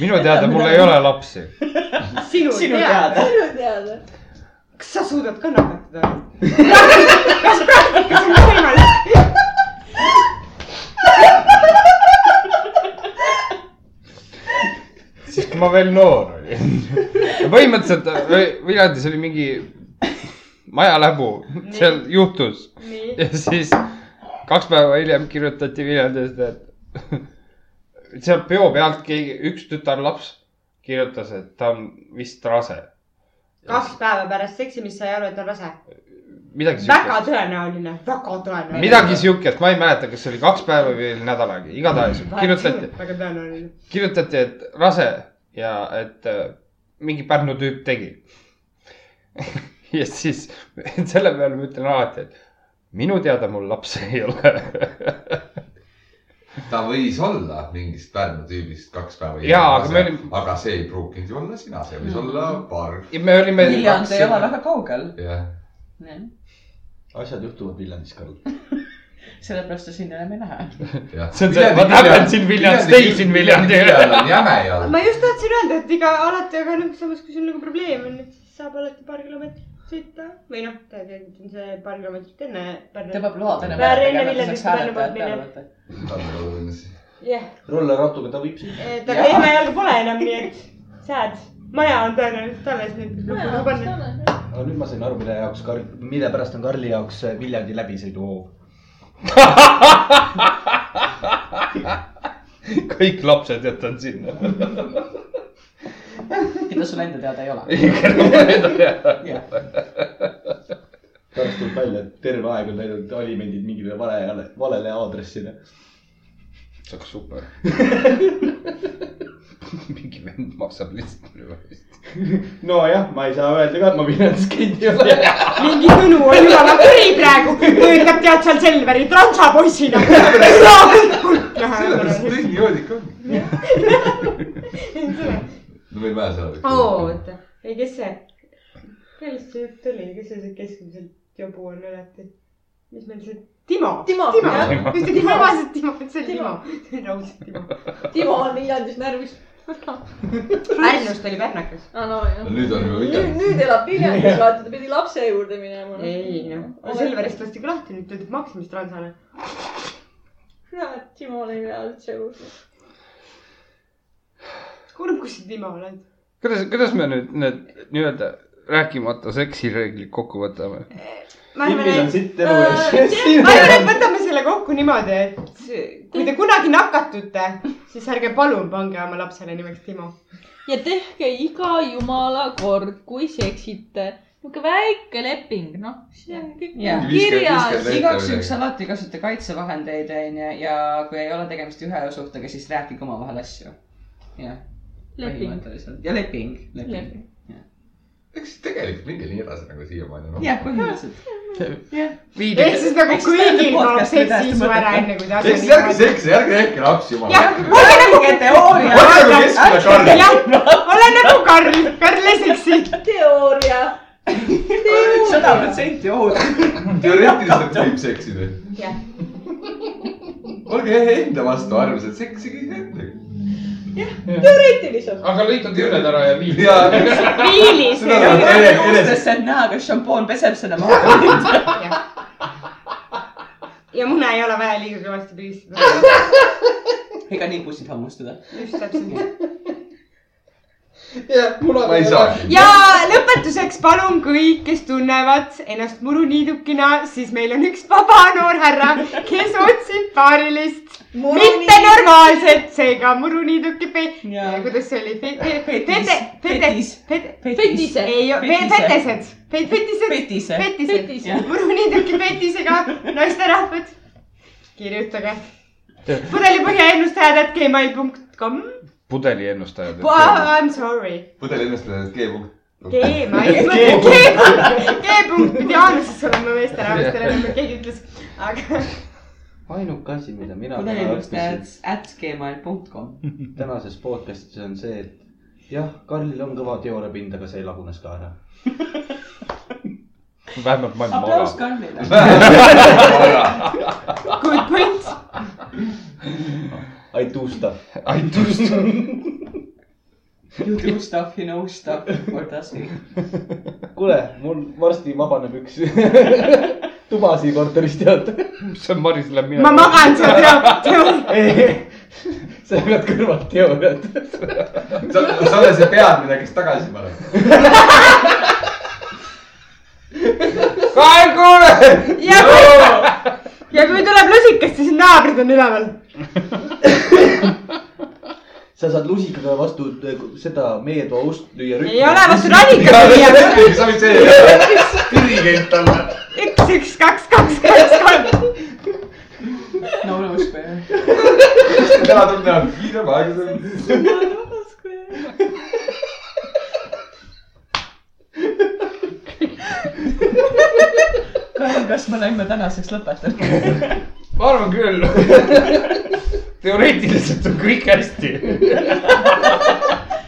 minu teada mul ei ole lapsi . sinu sinu . teada . minu teada . kas sa suudad ka nakatada ? kas praktikas on võimalik ? siis kui ma veel noor olin . põhimõtteliselt äh, Viljandis oli mingi majaläbu , seal juhtus nii . ja siis kaks päeva hiljem kirjutati Viljandist , et seal peo pealt keegi , üks tütarlaps kirjutas , et ta on vist rase . kaks päeva pärast seksimist sai aru , et on rase . midagi väga siukest , tõenäoline , väga tõenäoline . midagi siukest , ma ei mäleta , kas see oli kaks päeva või oli nädal aega , igatahes kirjutati , väga tõenäoline . kirjutati , et rase ja et äh, mingi Pärnu tüüp tegi . ja siis selle peale ma ütlen alati , et minu teada mul lapsi ei ole . ta võis olla mingist Pärnu tüübist kaks päeva . Jaa, aga me olime- Mhm. aga see ei pruukinud ju olla sina , see võis olla paar . ja me olime , Viljand ei ole väga kaugel . jah , asjad juhtuvad Viljandis , Karl . sellepärast sa sinna enam ei lähe . jah . See on see, ma tahan siin Viljandis, teil siin Viljandi- Viljandi on jäme ja . ma just tahtsin öelda , et iga alati , aga noh , samas kui sul nagu probleem on , et siis saab alati paar kilomeetrit sõita või noh , tegelikult on see paar kilomeetrit enne Pärnu . tõmbab load enne Väär enne et Viljandisse saaks hääletajad Pärnu peale poolt võtta . nagu jah , rollerautoga ta võib siin . et aga Emajal pole enam nii , et sad , maja on tõenäoliselt alles nüüd . aga nüüd ma sain aru , mille jaoks Karl , mille pärast on Karli jaoks Viljandi läbisõiduhoov . kõik lapsed jätan sinna . keda sul enda teada ei ole . pärast tuleb välja , et terve aeg on läinud alimendid mingile valele , valele aadressile . see oleks super . mingi vend maksab lihtsalt minu eest . nojah , ma ei saa öelda ka , et ma Viljandis käinud ei ole . mingi Tõnu on jumala kuri praegu , töötab tead seal Selveri transapoisina . sellepärast tõsi joodik on . no meil vähe seal . oota , ei kes see , kellest see jutt oli , kes see see keskmiselt jobu on alati ? mis meil see , Timo . Timo, jah. Timo , just tegin vabaselt Timo , see oli Timo , see oli raudselt Timo . Timo on Viljandis närvis . Pärnust oli pärnakas . aa , no jah . nüüd on juba nüüd , Viljandi . nüüd elab Viljandis , vaata , ta pidi lapse juurde minema . ei noh , Selverist lasti ka lahti , nüüd töötab Maximis transana . kurat , Timol ei pea üldse juurde . kuulab , kus see Timo on ainult . kuidas , kuidas me nüüd need nii-öelda rääkimata seksireeglid kokku võtame . ma arvan , Timmil on et , sitt elu ees . ma arvan , et võtame selle kokku niimoodi , et kui te kunagi nakatute , siis ärge palun pange oma lapsele nimeks Timo . ja tehke iga jumala kord , kui seksite , niisugune väike leping , noh , see on kõik nagu Jah. kirjas . igaks juhuks alati kasuta kaitsevahendeid , onju , ja kui ei ole tegemist ühe suhtega , siis rääkige omavahel asju . jah , leping . põhimõtteliselt ja leping , leping . eks tegelikult minge nii edasi nagu siiamaani no. . jah , põhimõtteliselt . ehk siis nagu Eks ta kõigil on kaob podcast, seksi isu mida hästi ära mõtled. enne , kui te ehk siis ärge asendite . seksi , ärge tehke lapsi , jumala jah , olge nagu , teooria . olge nagu keskmine Karl . jah , ole nagu Karl , Karl ei seksi . teooria . sada protsenti ohutu . teoreetiliselt võib seksida . jah , olge enda vastu armsad , seksige endega . teoreetiliselt . aga lõika küüned ära ja vii . ja miilis . seda tuleb ene- enese- kohtusse on näha , kas šampoon peseb seda maha . ja mune ei ole vaja liiga kõvasti pigistada . ega nipusid hammustada . just täpselt . ma ei saagi . ja lõpetuseks palun kõik , kes tunnevad ennast muruniidukina , siis meil on üks vaba noor härra , kes otsib paarilist , mitte normaalset , seega muruniiduki pe- Jaa. , kuidas see oli , Fetis. fete , fete , Fetis. fete , Fetise. ei , Fetise. fetesed , fetised , petise . Fetise. fetised , muruniiduki fetisega naisterahvad , kirjutage pudelipõhja ennustajad at gmail punkt kom . pudeli ennustajad . I m sorry pudel ennustajad G punkt . G , ma ei mõtle , G , G punkt pidi alguses olema meesterahvastele , nagu keegi ütles , aga ainuke asi , mida mina täna õppisin pudelinõustajad at gmail punkt kom . tänases podcastis on see , et jah , Karlil on kõva teooriapind , aga see lagunes ka ära . vähemalt ma ei aplaus maga . Karlile . good point . I do stuff . I do stuff . You do stuff , you know stuff , what does he ? kuule , mul varsti vabaneb üks tubasi korterist tead . see on Marisele mina . ma magan seal teo- , teo- , sa pead kõrvalt teooriat . sa , sa oled see peadmine , kes tagasi paneb . Karl , kuule . ja kui , ja kui tuleb lusikas , siis naabrid on üleval . sa saad lusikaga vastu seda meie toa ust lüüa . ei ole vastu radikaga viia . sa võid see , dirigent olla . üks , üks , kaks , kaks , kaks , kolm . no no spare . täna tuleb teha kiirem , aeglasem . Karl , kas me oleme tänaseks lõpetanud ? ma arvan küll . teoreetiliselt on kõik hästi .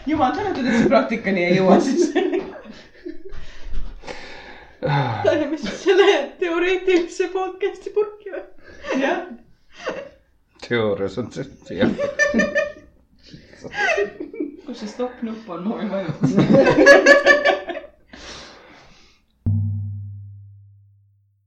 jumal tänatud , et see praktikani ei jõua siis . paneme siis selle teoreetilise podcast'i purki või ? jah . teoorias on see , jah . kus see stopp-nupp on , ma võin vajutada .